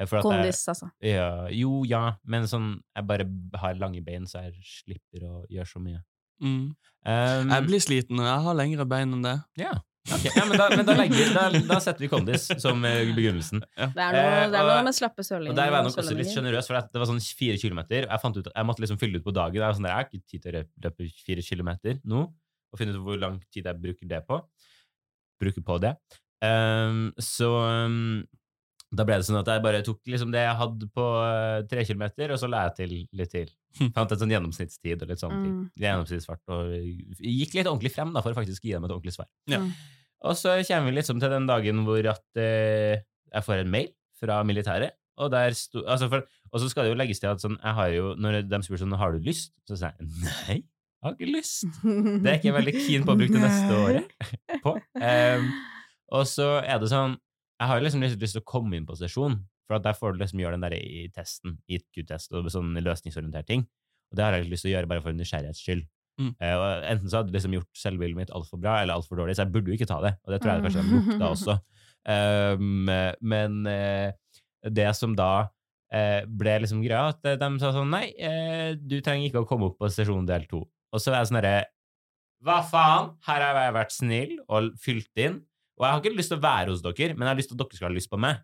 Speaker 2: Eh, For at
Speaker 1: Kondis, altså.
Speaker 2: Jeg, ja, jo, ja, men sånn, jeg bare har lange bein, så jeg slipper å gjøre så mye.
Speaker 3: Mm.
Speaker 2: Ehm,
Speaker 3: Jeg blir sliten, og jeg har lengre bein enn det.
Speaker 2: ok, ja, men da, men da, legger, da, da setter vi kondis som eh, begrunnelsen.
Speaker 1: Det er noe,
Speaker 2: Eh,
Speaker 1: det er noe
Speaker 2: og-
Speaker 1: med slappe sørlendinger.
Speaker 2: Og der var jeg nok
Speaker 1: og
Speaker 2: også litt
Speaker 1: sørlendinger.
Speaker 2: sjenerøs, for det- det var sånn fire kilometer. og Jeg fant ut at jeg måtte liksom fylle ut på dagen. Jeg var sånn, jeg har ikke tid til å rø- løpe fire kilometer nå, og finne ut hvor lang tid jeg bruker det på. Bruker på det. Ehm, så ehm, da ble det sånn at jeg bare tok liksom det jeg hadde på eh, tre kilometer, og så la jeg til litt til. Fant et sånn gjennomsnittstid og
Speaker 1: Mm.
Speaker 2: litt sånne ting. Gjennomsnittsfart. Og gikk litt ordentlig frem da, for å faktisk gi dem et ordentlig svar.
Speaker 3: Ja.
Speaker 1: Mm.
Speaker 2: Og så kommer vi liksom til den dagen hvor at eh, jeg får en mail fra militæret, og der sto, altså for, og så skal det jo legges til at sånn, jeg har jo, når de spør sånn, har du lyst? Så sier jeg, nei, jeg har ikke lyst.
Speaker 1: Mm.
Speaker 2: Det er ikke jeg veldig keen på å bruke det neste året på. Ehm, og så er det sånn, jeg har liksom lyst, lyst til å komme inn på sesjon, for at der får du liksom gjøre den der i testen, IQ-test og sånn løsningsorientert ting. Og det har jeg lyst til å gjøre bare for nysgjerrighets skyld.
Speaker 3: Mm.
Speaker 2: Eh, og enten så hadde jeg liksom gjort selvbildet mitt altfor bra eller altfor dårlig, så jeg burde jo ikke ta det, og det tror jeg kanskje jeg
Speaker 1: Mm.
Speaker 2: lukta også. Um, men eh, det som da eh, ble liksom greia, at de sa sånn Nei, eh, du trenger ikke å komme opp på sesjon del to. Og så er jeg sånn herre Hva faen? Her har jeg vært snill og fylt inn. Og jeg har ikke lyst til å være hos dere, men jeg har lyst til at dere skal ha lyst på meg.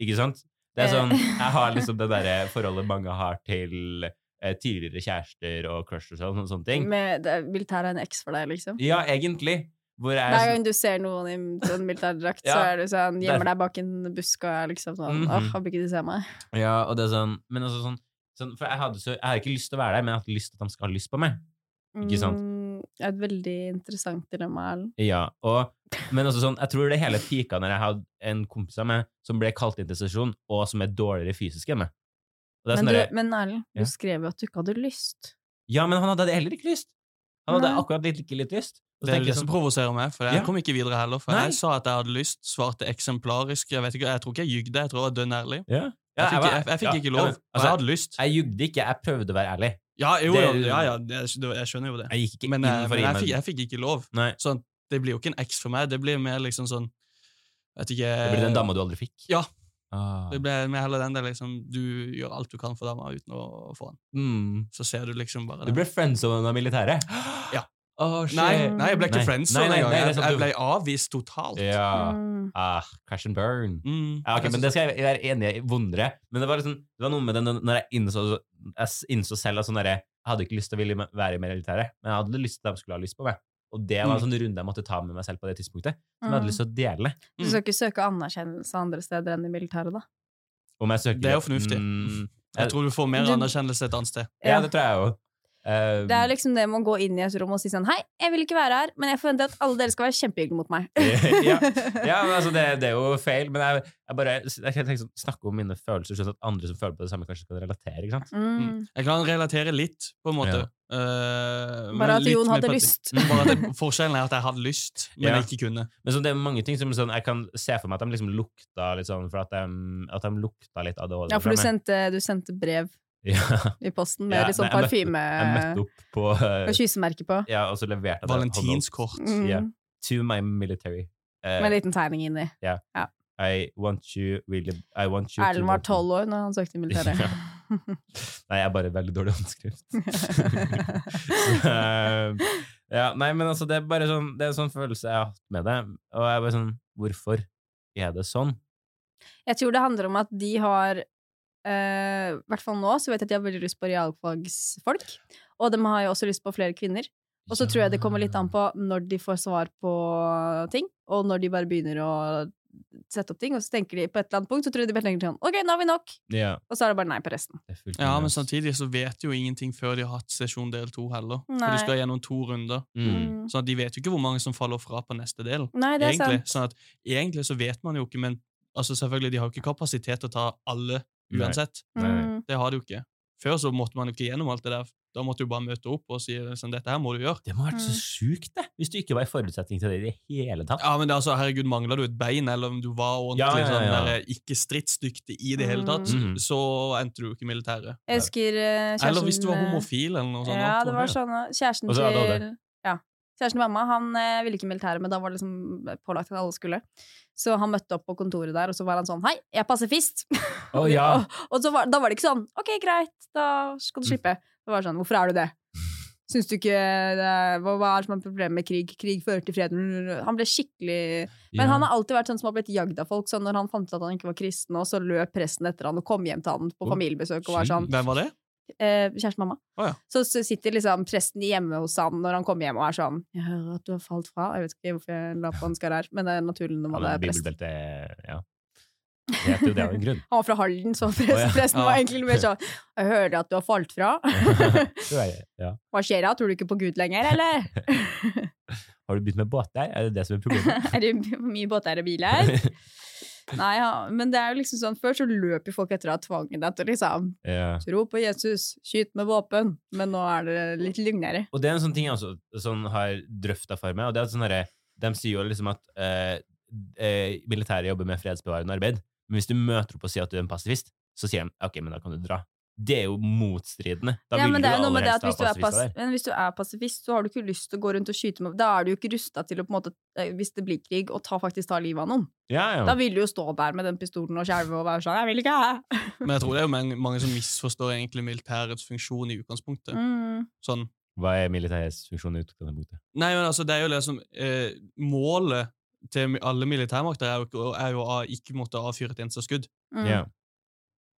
Speaker 2: Ikke sant? Det er
Speaker 1: Eh.
Speaker 2: sånn, Jeg har liksom det derre forholdet mange har til eh, tidligere kjærester og crush og sånn, og sånne ting.
Speaker 1: Med- det er- Militæret er en X for deg, liksom.
Speaker 2: Ja, egentlig. Hvor jeg
Speaker 1: Hver
Speaker 2: er sånn
Speaker 1: gang du ser noen i en sånn militærdrakt,
Speaker 2: Ja.
Speaker 1: så er du sånn, gjemmer
Speaker 2: Der-
Speaker 1: deg bak en busk og er liksom sånn
Speaker 2: Mhm.
Speaker 1: Åh, håper ikke de ser meg.
Speaker 2: Ja, og det er sånn Men altså sånn, sånn For jeg, hadde så, jeg har ikke lyst til å være der, men jeg har hatt lyst til at de skal ha lyst på meg. Ikke sant?
Speaker 1: Mm, det er et veldig interessant dilemma, Erlend.
Speaker 2: Ja, og, men også sånn, jeg tror det hele pika når jeg hadde en kompis av meg som ble kalt inn til sesjon, og som er dårligere fysisk enn meg. Og det
Speaker 1: Men,
Speaker 2: er sånn
Speaker 1: du-
Speaker 2: derre-
Speaker 1: men Erlend,
Speaker 2: Ja.
Speaker 1: du skrev jo at du ikke hadde lyst.
Speaker 2: ja, men han hadde heller ikke lyst. Han hadde
Speaker 1: Nei.
Speaker 2: akkurat litt, ikke litt lyst. Og så
Speaker 3: Det er liksom
Speaker 2: tenker
Speaker 3: det
Speaker 2: jeg
Speaker 3: som
Speaker 2: sånn,
Speaker 3: provoserer meg, for jeg
Speaker 2: Ja.
Speaker 3: kom ikke videre heller. For
Speaker 2: Nei.
Speaker 3: jeg sa at jeg hadde lyst, svarte eksemplarisk. Jeg vet ikke, jeg tror ikke jeg jugde, jeg tror jeg var dønn ærlig.
Speaker 2: Ja.
Speaker 3: Jeg
Speaker 2: jeg
Speaker 3: fikk,
Speaker 2: var-
Speaker 3: jeg, jeg fikk
Speaker 2: ja,
Speaker 3: ikke
Speaker 2: ja,
Speaker 3: lov.
Speaker 2: men,
Speaker 3: og
Speaker 2: altså,
Speaker 3: jeg hadde lyst.
Speaker 2: Jeg jugde ikke, jeg prøvde å være ærlig.
Speaker 3: Ja, jo, jo,
Speaker 2: det-
Speaker 3: ja, ja, jeg, jeg skjønner jo det.
Speaker 2: Jeg gikk ikke
Speaker 3: Men, eh,
Speaker 2: inn for å
Speaker 3: men
Speaker 2: gi
Speaker 3: jeg,
Speaker 2: meg
Speaker 3: fikk, jeg fikk ikke lov.
Speaker 2: Nei,
Speaker 3: Sånn, det blir jo ikke en X for meg. Det blir mer liksom sånn Vet ikke
Speaker 2: Det ble den dama du aldri fikk?
Speaker 3: Eh, Ja.
Speaker 2: Ah.
Speaker 3: Det ble mer heller den der liksom Du gjør alt du kan for dama uten å få den.
Speaker 2: Mm.
Speaker 3: Så ser du liksom bare
Speaker 2: Du ble friendzone av militæret?
Speaker 3: Ja.
Speaker 2: Åh, shit.
Speaker 3: Nei, nei, jeg ble ikke
Speaker 2: Nei.
Speaker 3: friends
Speaker 2: Nei,
Speaker 3: sånn
Speaker 2: nei,
Speaker 3: engang.
Speaker 2: nei, det er
Speaker 3: Jeg,
Speaker 2: sant,
Speaker 3: jeg
Speaker 2: du-
Speaker 3: ble avvist totalt.
Speaker 2: Ja.
Speaker 1: Mm.
Speaker 2: Ah, crash and burn.
Speaker 3: Mm.
Speaker 2: Ja, ok, men Det skal jeg være enig i vondere. Men det var, liksom, det var noe med det når når jeg innså, jeg s- innså selv at sånn derre, jeg hadde ikke lyst til å ville være med i militæret, men jeg hadde lyst til at de skulle ha lyst på meg. Og det
Speaker 3: Mm.
Speaker 2: var en sånn runde jeg måtte ta med meg selv på det tidspunktet.
Speaker 1: Mm.
Speaker 2: Som jeg hadde lyst til å dele.
Speaker 1: Du skal ikke søke anerkjennelse andre steder enn i militæret, da.
Speaker 2: Om jeg søker
Speaker 3: Det er jo fornuftig.
Speaker 2: Mm,
Speaker 3: Jeg tror du får mer
Speaker 1: Du-
Speaker 3: anerkjennelse et annet sted.
Speaker 2: ja, det tror jeg jo. Eh,
Speaker 1: Det er liksom det med å gå inn i et rom og si sånn Hei, jeg vil ikke være her, men jeg forventer at alle dere skal være kjempehyggelige mot meg.
Speaker 2: ja, ja, men altså, det, det er jo feil, men jeg, jeg bare jeg tenker sånn, snakker om mine følelser, sånn at andre som føler på det samme, kanskje kan relatere. ikke sant?
Speaker 1: Mm.
Speaker 3: Jeg kan relatere litt, på en måte.
Speaker 2: Ja.
Speaker 3: Eh, men
Speaker 1: Bare at
Speaker 3: litt
Speaker 1: Jon
Speaker 3: mer
Speaker 1: hadde
Speaker 3: parti-
Speaker 1: lyst.
Speaker 3: Mm, Bare at jeg, forskjellen er at jeg hadde lyst, men
Speaker 2: Ja.
Speaker 3: jeg ikke kunne.
Speaker 2: Men så det er mange ting som sånn, jeg kan se for meg at de liksom lukta litt sånn, for at de, at de lukta litt ADHD.
Speaker 1: Ja, for
Speaker 2: fra
Speaker 1: du
Speaker 2: meg.
Speaker 1: sendte, du sendte brev
Speaker 2: ja,
Speaker 1: i posten med
Speaker 2: Ja,
Speaker 1: litt sånn
Speaker 2: nei, jeg
Speaker 1: parfyme
Speaker 2: Jeg møtte opp på
Speaker 1: og
Speaker 2: eh,
Speaker 1: kyssemerke på.
Speaker 2: Ja, og så leverte jeg det.
Speaker 3: Valentinskort.
Speaker 1: Mm.
Speaker 2: Ja. To my military. Eh,
Speaker 1: Med en liten tegning inni.
Speaker 2: I want you really I want you to
Speaker 1: Erlend var
Speaker 2: want me.
Speaker 1: tolv år når han søkte i militæret.
Speaker 2: Ja. Nei, jeg er bare veldig dårlig håndskrift. Så, eh, ja, nei, men altså, det er bare sånn Det er en sånn følelse jeg har hatt med det. Og jeg er bare sånn Hvorfor er det sånn?
Speaker 1: Jeg tror det handler om at de har eh, I hvert fall nå så vet jeg at de har veldig lyst på realfagsfolk. Og de har jo også lyst på flere kvinner. Og så tror jeg det kommer litt an på når de får svar på ting, og når de bare begynner å sette opp ting. Og så tenker de på et eller annet punkt, så tror de bare tenker sånn OK, nå har vi nok!
Speaker 2: Ja,
Speaker 1: Og så er det bare nei på resten.
Speaker 2: det er fullt
Speaker 3: Ja, men
Speaker 2: mulig.
Speaker 3: samtidig så vet de jo ingenting før de har hatt sesjon del to heller. For
Speaker 1: Nei.
Speaker 3: de skal gjennom to runder.
Speaker 2: mm.
Speaker 1: Mm.
Speaker 3: Så de vet jo ikke hvor mange som faller fra på neste del.
Speaker 1: Nei, det er
Speaker 3: Egentlig.
Speaker 1: sant.
Speaker 3: Sånn at, egentlig så vet man jo ikke, men altså, selvfølgelig, de har jo ikke kapasitet til å ta alle
Speaker 2: Nei.
Speaker 3: uansett.
Speaker 1: Mm.
Speaker 3: Det har de jo ikke. Før så måtte man jo ikke gjennom alt det der. Da måtte du bare møte opp og si sånn, dette her må du gjøre.
Speaker 2: Det må ha
Speaker 1: Mm.
Speaker 2: vært så sjukt, det! Hvis du ikke var i forutsetning til det i det hele tatt.
Speaker 3: Ja, men det er altså, herregud, mangler du et bein, eller om du var ordentlig
Speaker 2: Ja, ja, ja, ja.
Speaker 3: sånn der, ikke stridsdyktig i det hele tatt,
Speaker 2: Mhm.
Speaker 3: så endte du jo ikke i militæret.
Speaker 1: Jeg husker eh, Mm. kjæresten
Speaker 3: Eller hvis du var
Speaker 1: eh,
Speaker 3: homofil, eller noe sånt.
Speaker 1: Ja,
Speaker 3: også.
Speaker 1: det var sånn eh, Kjæresten
Speaker 2: Og så hadde
Speaker 1: til ja, Kjæresten til mamma han eh, ville ikke i militæret, men da var det liksom pålagt at alle skulle. Så han møtte opp på kontoret der, og så var han sånn Hei, jeg er pasifist!
Speaker 2: Å ja!
Speaker 1: og og så var, da var det ikke sånn OK, greit, da skal du slippe. Det var sånn Hvorfor er du det? Syns du ikke det er, hva, hva er det som er problemet med krig? Krig fører til fred Han ble skikkelig Men han har alltid vært sånn som har blitt jagd av folk. Så når han fant ut at han ikke var kristen, og så løp presten etter han og kom hjem til han på
Speaker 2: Å,
Speaker 1: familiebesøk og var sånn
Speaker 3: Hvem var det?
Speaker 1: eh, Kjæresten mamma.
Speaker 3: Å ja.
Speaker 1: så, så sitter liksom presten hjemme hos han når han kommer hjem og er sånn 'Jeg hører at du har falt fra.' Jeg vet ikke hvorfor jeg la på en skar her, men det er naturlig når man
Speaker 2: Ja,
Speaker 1: er
Speaker 2: men
Speaker 1: prest.
Speaker 2: Bibelbelte Ja. Det heter jo det av en grunn.
Speaker 1: Han var fra Halden, så prest,
Speaker 2: Å, ja.
Speaker 1: presten
Speaker 3: Ja.
Speaker 1: var egentlig litt mer sånn 'Jeg hører at du har falt fra.'
Speaker 2: Tror jeg- ja.
Speaker 1: Hva skjer da? Tror du ikke på Gud lenger, eller?
Speaker 2: Har du begynt med båtdeig? Er det det som er problemet?
Speaker 1: er det mye båter og biler? Nei, ja. men det er jo liksom sånn, før så løp jo folk etter å ha tvangen deg til liksom
Speaker 2: ja.
Speaker 1: Tro på Jesus, skyt med våpen. Men nå er det litt lugnere.
Speaker 2: Og det er en sånn ting jeg også sånn, har drøfta for meg, og det er at sånn herre De sier jo liksom at eh, eh, militæret jobber med fredsbevarende arbeid, men hvis du møter opp og sier at du er en pasifist, så sier de ok, men da kan du dra. Det er jo motstridende. Da
Speaker 1: Ja,
Speaker 2: vil
Speaker 1: men
Speaker 2: du
Speaker 1: det er jo noe med
Speaker 2: aller
Speaker 1: det at hvis
Speaker 2: helst
Speaker 1: du,
Speaker 2: ha
Speaker 1: er pas
Speaker 2: pasifister der.
Speaker 1: men hvis du er pasifist, så har du ikke lyst til å gå rundt og skyte med Da er du jo ikke rusta til å, på en måte, eh, hvis det blir krig, å ta, faktisk ta livet av noen.
Speaker 2: Ja,
Speaker 1: Da
Speaker 2: ja.
Speaker 1: vil du jo stå der med den pistolen og skjelve og være sånn 'Jeg vil ikke ha'.
Speaker 3: Men jeg tror det er jo mange, mange som misforstår egentlig militærets funksjon i utgangspunktet.
Speaker 1: Mm.
Speaker 3: Sånn.
Speaker 2: Hva er militærets funksjon i utgangspunktet?
Speaker 3: Nei, men altså, det er jo liksom eh, Målet til mi- alle militærmakter er jo, ikke- er jo å ikke måtte avfyre et eneste skudd.
Speaker 1: Mm.
Speaker 2: Ja.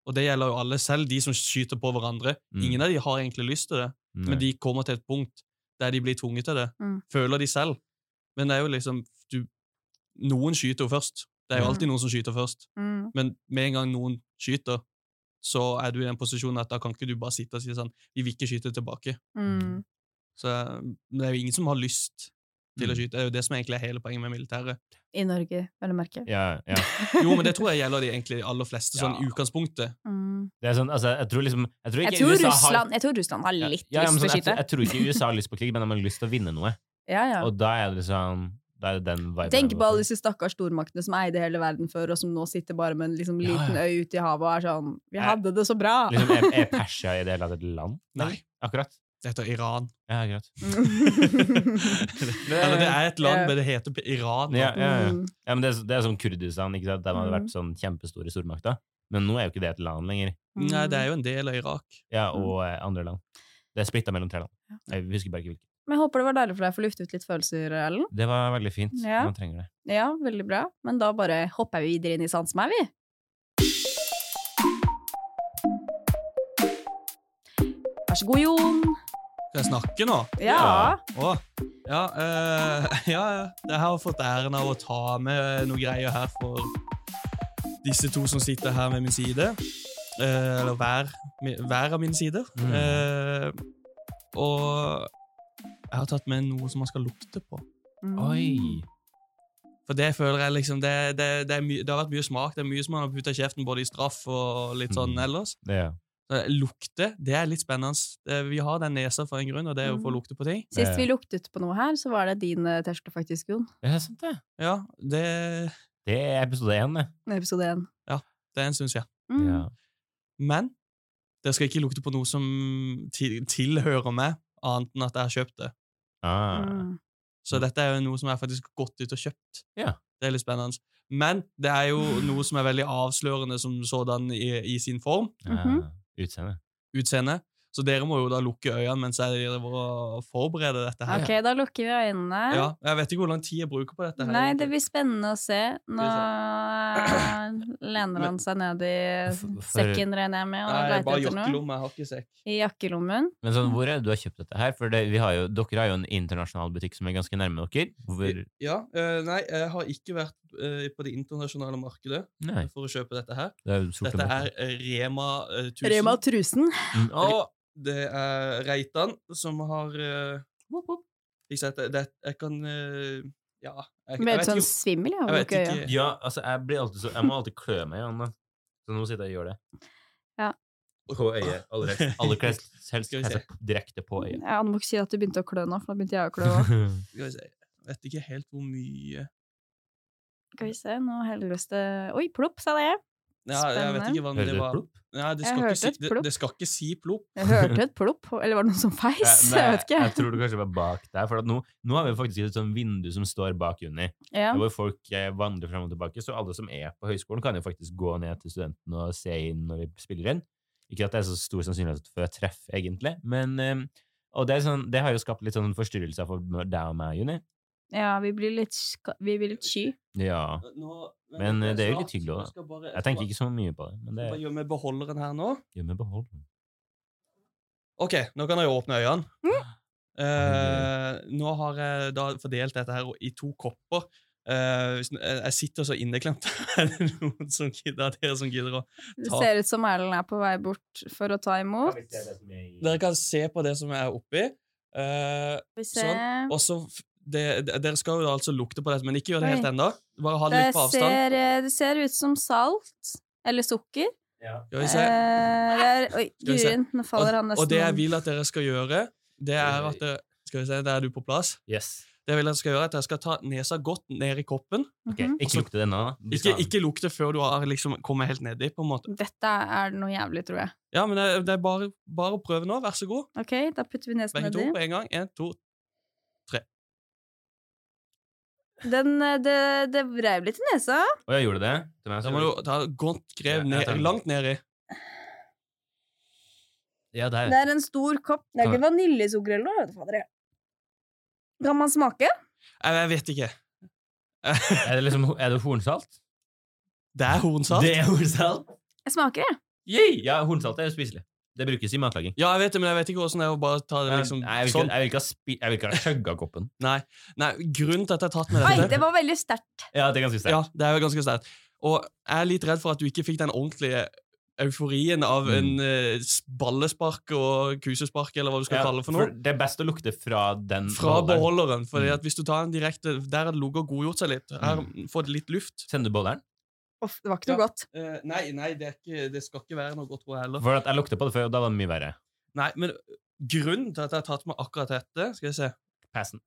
Speaker 3: Og det gjelder jo alle, selv de som skyter på hverandre.
Speaker 2: Mm.
Speaker 3: Ingen av de har egentlig lyst til det.
Speaker 2: Nei.
Speaker 3: men de kommer til et punkt der de blir tvunget til det.
Speaker 1: Mm.
Speaker 3: Føler de selv. Men det er jo liksom du, Noen skyter jo først. Det er
Speaker 1: Mm.
Speaker 3: jo alltid noen som skyter først.
Speaker 1: Mm.
Speaker 3: Men med en gang noen skyter, så er du i den posisjonen at da kan ikke du bare sitte og si sånn Vi vil ikke skyte tilbake.
Speaker 1: Mm.
Speaker 3: Så eh, det er jo ingen som har lyst til å
Speaker 2: Mm.
Speaker 3: skyte. Det er jo det som egentlig er hele poenget med militæret.
Speaker 1: I Norge, vel å merke.
Speaker 2: ja, ja.
Speaker 3: Jo, men det tror jeg gjelder de egentlig de aller fleste, sånn
Speaker 2: Ja.
Speaker 3: i utgangspunktet.
Speaker 1: Mm.
Speaker 2: Det er sånn, altså, jeg tror liksom Jeg tror,
Speaker 1: Jeg
Speaker 2: ikke
Speaker 1: tror,
Speaker 2: USA
Speaker 1: Russland, jeg tror Russland har
Speaker 2: har
Speaker 1: litt
Speaker 2: ja, ja,
Speaker 1: lyst
Speaker 2: men
Speaker 1: til å
Speaker 2: sånn, jeg,
Speaker 1: skyte.
Speaker 2: jeg tror ikke USA har lyst på krig, men de har lyst til å vinne noe.
Speaker 1: Ja, ja.
Speaker 2: Og da er det liksom Det er den viben.
Speaker 1: Tenk på
Speaker 2: jeg går for.
Speaker 1: alle disse stakkars stormaktene som eide hele verden før, og som nå sitter bare med en liksom
Speaker 2: Ja, Eh, ja.
Speaker 1: liten øy ute i havet og er sånn Vi
Speaker 2: Jeg-
Speaker 1: hadde det så bra!
Speaker 2: Liksom, er, er Persia i det hele tatt et land?
Speaker 3: Nei,
Speaker 2: Akkurat.
Speaker 3: dette er Iran.
Speaker 2: Ja, akkurat.
Speaker 1: Mm.
Speaker 3: Eller det er et land,
Speaker 1: ja.
Speaker 3: men det heter Iran.
Speaker 2: Ja,
Speaker 3: Ja.
Speaker 2: ja, ja.
Speaker 1: Mm.
Speaker 2: ja, men det, er- det er som Kurdistan, ikke sant? der man har
Speaker 1: Mm.
Speaker 2: vært sånn kjempestore stormakter. Men nå er jo ikke det et land lenger.
Speaker 3: Nei, det er jo en del av Irak.
Speaker 2: Ja, og eh, andre land. Det er splitta mellom tre land.
Speaker 1: Mm. Ja.
Speaker 2: Jeg husker bare ikke hvilke.
Speaker 1: Men jeg håper det var deilig for deg å få lufte ut litt følelser, Ellen.
Speaker 2: Det var veldig fint.
Speaker 1: Ja.
Speaker 2: Man trenger det.
Speaker 1: Ja, veldig bra. Men da bare hopper vi videre inn i Sans meg, vi. Vær så god, Jon.
Speaker 3: Skal jeg snakke nå?
Speaker 1: Ja.
Speaker 3: Å, ja, eh, ja, ja. Jeg har fått æren av å ta med noe greier her for disse to som sitter her ved min side. Eh, eller hver, mi- hver av mine sider.
Speaker 2: Mm.
Speaker 3: Eh, og jeg har tatt med noe som man skal lukte på.
Speaker 1: Mm.
Speaker 2: Oi!
Speaker 3: For det føler jeg liksom Det, det, det, er mye- det har vært mye smak. Det er mye som man har putta i kjeften, både i straff og litt sånn
Speaker 2: Mm.
Speaker 3: ellers.
Speaker 2: Det, ja.
Speaker 3: Så Lukte, det er litt spennende. Eh, Vi har den nesa for en grunn, og det er jo for
Speaker 2: Mm.
Speaker 3: å lukte på ting.
Speaker 1: Sist vi luktet på noe her, så var det din eh, tørste, faktisk, Jon.
Speaker 2: det er sant, det.
Speaker 3: Ja, det,
Speaker 2: Det er episode én, det.
Speaker 1: Episode én.
Speaker 3: det er en stund siden.
Speaker 1: Mm.
Speaker 2: Ja.
Speaker 3: Men det skal ikke lukte på noe som til, tilhører meg, annet enn at jeg har kjøpt det.
Speaker 2: Ah.
Speaker 1: Mm.
Speaker 3: Så dette er jo noe som jeg faktisk har gått ut og kjøpt.
Speaker 2: Ja.
Speaker 3: Det er litt spennende. Men det er jo noe som er veldig avslørende som sådan i, i sin form,
Speaker 1: Mhm.
Speaker 2: ja. Eh, Utseende.
Speaker 3: utseende. Så dere må jo da lukke øynene mens jeg driver og forbereder dette her.
Speaker 1: Ok, da lukker vi øynene.
Speaker 3: Ja, jeg vet ikke hvor lang tid jeg bruker på dette. her.
Speaker 1: Nei, det
Speaker 3: egentlig.
Speaker 1: blir spennende å se. Nå lener han
Speaker 3: Men-
Speaker 1: seg ned i
Speaker 2: For- for-
Speaker 1: sekken, regner jeg med, og
Speaker 3: Nei,
Speaker 1: leter
Speaker 3: bare
Speaker 1: etter noe.
Speaker 3: jakkelomme, jeg har ikke sekk.
Speaker 1: I jakkelommen.
Speaker 2: Men sånn, hvor er det du har kjøpt dette her? For det, vi har jo, dere har jo en internasjonal butikk som er ganske nærme dere. Hvor,
Speaker 3: Ja, eh, nei, jeg har ikke vært eh, på det internasjonale markedet
Speaker 2: nei,
Speaker 3: for å kjøpe dette her.
Speaker 2: det er jo sort og
Speaker 3: Dette er
Speaker 2: blått.
Speaker 3: eh, Rema eh, 1000.
Speaker 1: Rema Trusen.
Speaker 2: Mm, å,
Speaker 3: Og det er Reitan som har eh, whoop, whoop. Ikke sant, det, det, Jeg kan eh, Ja. Jeg, jeg,
Speaker 1: Ble
Speaker 3: vet
Speaker 1: helt sånn
Speaker 3: ikke-
Speaker 1: svimmel av å
Speaker 3: jeg vet
Speaker 1: lukke øya.
Speaker 3: ikke
Speaker 2: ja, altså, jeg, blir alltid så, jeg må alltid klø meg i hånda. Så nå sitter jeg og gjør det.
Speaker 1: Ja.
Speaker 2: På øyet. Aller helst, aller helst, helst
Speaker 3: Skal vi se.
Speaker 2: helst direkte på øyet.
Speaker 1: Ja, du må ikke si at du begynte å klø nå, for da begynte jeg å klø òg.
Speaker 2: Sånn,
Speaker 3: Skal vi se, jeg vet ikke helt hvor mye
Speaker 1: Skal vi se, nå helles det Oi, plopp, sa det jeg.
Speaker 3: ja, Jeg vet
Speaker 1: Spennende.
Speaker 3: ikke hva
Speaker 2: Hører
Speaker 3: det
Speaker 2: du et
Speaker 3: var.
Speaker 2: plopp?
Speaker 3: Nei, det
Speaker 1: Jeg
Speaker 3: skal, ikke
Speaker 1: hørte
Speaker 3: si,
Speaker 1: et
Speaker 3: det,
Speaker 1: plopp.
Speaker 3: det skal ikke si plopp.
Speaker 1: Jeg hørte et plopp, eller var det noen som feis?
Speaker 2: Nei,
Speaker 1: Jeg vet ikke.
Speaker 2: jeg tror det kanskje var bak der. For at nå, nå har vi faktisk et sånt vindu som står bak Unni.
Speaker 1: Ja.
Speaker 2: hvor folk eh, vandrer frem og tilbake. Så alle som er på høyskolen, kan jo faktisk gå ned til studenten og se inn når vi spiller inn. Ikke at det er så stor sannsynlighet for treff, egentlig, men eh, Og det, er sånn, det har jo skapt litt sånn forstyrrelser for deg og meg, Juni.
Speaker 1: ja, vi blir litt, ska- vi blir litt sky.
Speaker 2: Ja.
Speaker 3: Nå-
Speaker 2: Men,
Speaker 3: nå-
Speaker 2: eh, det er jo litt
Speaker 3: snart,
Speaker 2: hyggelig
Speaker 3: nå
Speaker 2: også.
Speaker 3: skal Jeg bare-
Speaker 2: Jeg tenker ikke så mye på det, men det
Speaker 3: Bare gjør med beholderen her nå.
Speaker 2: gjør meg behold.
Speaker 3: Ok, nå kan jeg jo åpne øynene.
Speaker 1: Mm.
Speaker 3: Eh,
Speaker 2: Herregud.
Speaker 3: nå har jeg da fordelt dette her i to kopper. Eh, hvis, jeg jeg sitter så inneklemt. Er det noen som gidder, av dere som gidder å
Speaker 1: Det
Speaker 3: Ta-
Speaker 1: ser ut som Erlend er på vei bort for å ta imot.
Speaker 3: Dere kan se på det som er oppi. Eh,
Speaker 1: Skal vi se
Speaker 3: Sånn. og så f- det, det- Dere skal jo altså lukte på dette, men ikke gjør det helt
Speaker 1: Oi.
Speaker 3: ennå. Bare ha det
Speaker 1: det
Speaker 3: litt på avstand.
Speaker 1: ser, eh, det ser ut som salt. Eller sukker.
Speaker 3: Skal vi
Speaker 1: Eh,
Speaker 3: se.
Speaker 1: det er, oi,
Speaker 3: vi se.
Speaker 1: Gurin, nå faller han
Speaker 3: Og,
Speaker 1: nesten
Speaker 3: og det jeg vil at dere skal gjøre, det er at dere Skal vi se, der er du på plass.
Speaker 2: Yes.
Speaker 3: Det jeg vil at dere skal gjøre, er at dere skal ta nesa godt ned i koppen.
Speaker 2: Ok,
Speaker 1: Mhm.
Speaker 2: Ikke lukte denne.
Speaker 3: Ikke, ikke lukte før du har liksom kommet helt nedi, på en måte.
Speaker 1: Dette er noe jævlig, tror jeg.
Speaker 3: Ja, men det, det er bare, bare å prøve nå. Vær så god.
Speaker 1: Ok, da putter vi nesen
Speaker 3: Begge
Speaker 1: nedi.
Speaker 3: to på en gang. En, to.
Speaker 1: Den, eh, det, det reiv litt i nesa.
Speaker 2: Og jeg gjorde det. til meg, så
Speaker 3: Da må du
Speaker 2: gjorde det.
Speaker 3: ta godt
Speaker 2: Ja,
Speaker 3: grev
Speaker 2: jeg
Speaker 3: ned,
Speaker 2: tar den.
Speaker 3: langt nedi.
Speaker 2: Ja, der.
Speaker 1: Det er en stor kopp. Det er ikke vaniljesukker eller noe. vet du, fader, jeg. Kan man smake?
Speaker 3: Jeg, jeg vet ikke.
Speaker 2: Er det, liksom, er det hornsalt?
Speaker 3: Det er hornsalt.
Speaker 2: Det er hornsalt.
Speaker 1: Jeg smaker, jeg.
Speaker 2: Yay! Ja, hornsalt er jo spiselig. Det brukes i matlaging.
Speaker 3: Ja, jeg vet det, men jeg vet ikke hvordan det er å bare ta det liksom
Speaker 2: Eh, Nei, jeg, vil ikke,
Speaker 3: sånn.
Speaker 2: jeg, vil ikke ha spi, jeg vil ikke ha skjøgga koppen.
Speaker 3: Nei, nei, grunnen til at jeg har tatt med
Speaker 1: Oi,
Speaker 3: dette
Speaker 1: det var veldig sterkt.
Speaker 2: Ja, det er ganske sterkt.
Speaker 3: Ja, det er jo ganske sterkt. Og jeg er litt redd for at du ikke fikk den ordentlige euforien av
Speaker 2: Mm.
Speaker 3: en eh, s- ballespark og kusespark, eller hva du skal kalle det for noe.
Speaker 2: det er best å lukte fra den
Speaker 3: Fra
Speaker 2: beholderen.
Speaker 3: beholderen. Fordi
Speaker 2: Mm.
Speaker 3: at hvis du tar en direkte Der har det ligget og godgjort seg litt. Her får det litt luft.
Speaker 2: Kjenner du beholderen?
Speaker 1: Uff, det var ikke noe
Speaker 3: Ja.
Speaker 1: godt.
Speaker 3: Eh, nei, nei det, er ikke, det skal ikke være noe godt råd heller.
Speaker 2: For at jeg lukta på det før, og da var det mye verre.
Speaker 3: øh, Nei, men grunnen til at jeg har tatt med akkurat dette Skal vi se
Speaker 2: Passen.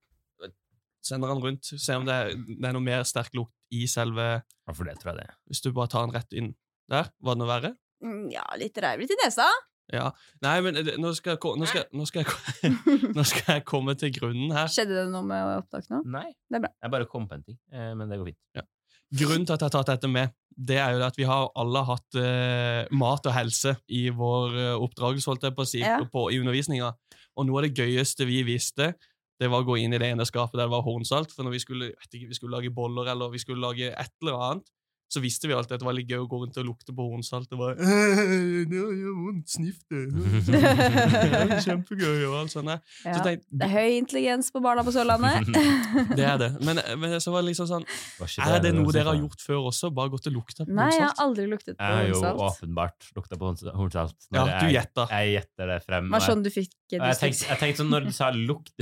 Speaker 3: sender den rundt, se om det er, det er noe mer sterk lukt i selve
Speaker 2: Ja, for det tror jeg det. er.
Speaker 3: Hvis du bare tar den rett inn der, var det noe verre?
Speaker 1: Mm, Ja, litt reivlig til nesa.
Speaker 3: Ja. Nei, men øh, det- nå skal, jeg ko- nå, skal, nå, skal jeg, ko- nå skal jeg komme til grunnen her.
Speaker 1: Skjedde det noe med opptak nå?
Speaker 2: Nei.
Speaker 1: Det er bra.
Speaker 2: Jeg bare kom på en ting, eh, men det går fint.
Speaker 3: Grunnen til at jeg har tatt dette med, det er jo det at vi har alle hatt eh, mat og helse i vår eh, oppdragelse, holdt jeg på å si,
Speaker 1: Ja.
Speaker 3: på, i undervisninga. Og noe av det gøyeste vi visste, det var å gå inn i det ene skapet der det var hornsalt. For når vi skulle, jeg vet ikke, vi skulle lage boller eller vi skulle lage et eller annet, så visste vi alltid at det var litt gøy å gå rundt og lukte på hornsalt. Det var «Øh, det gjør vondt, sniff det. Det var Kjempegøy og alt sånt. der. Så
Speaker 1: Ja.
Speaker 3: tenkte jeg,
Speaker 1: Det er høy intelligens på barna på Sørlandet.
Speaker 3: det er det. Men, men så var det liksom sånn
Speaker 2: Var ikke
Speaker 3: Er det noe
Speaker 2: var
Speaker 3: dere har
Speaker 2: sånn.
Speaker 3: gjort før også? Bare gått og lukta på
Speaker 1: Nei, jeg har
Speaker 3: hornsalt?
Speaker 1: aldri luktet på
Speaker 2: Jeg har jo
Speaker 1: hornsalt.
Speaker 2: åpenbart lukta på horns- hornsalt.
Speaker 3: Ja,
Speaker 2: når
Speaker 3: du
Speaker 2: jeg,
Speaker 3: gjetta.
Speaker 2: jeg gjetter det frem.
Speaker 1: Var
Speaker 2: og jeg-
Speaker 1: sånn du fikk
Speaker 2: og jeg tenkte,
Speaker 1: dysleksi.
Speaker 2: jeg tenkte sånn når du sa lukt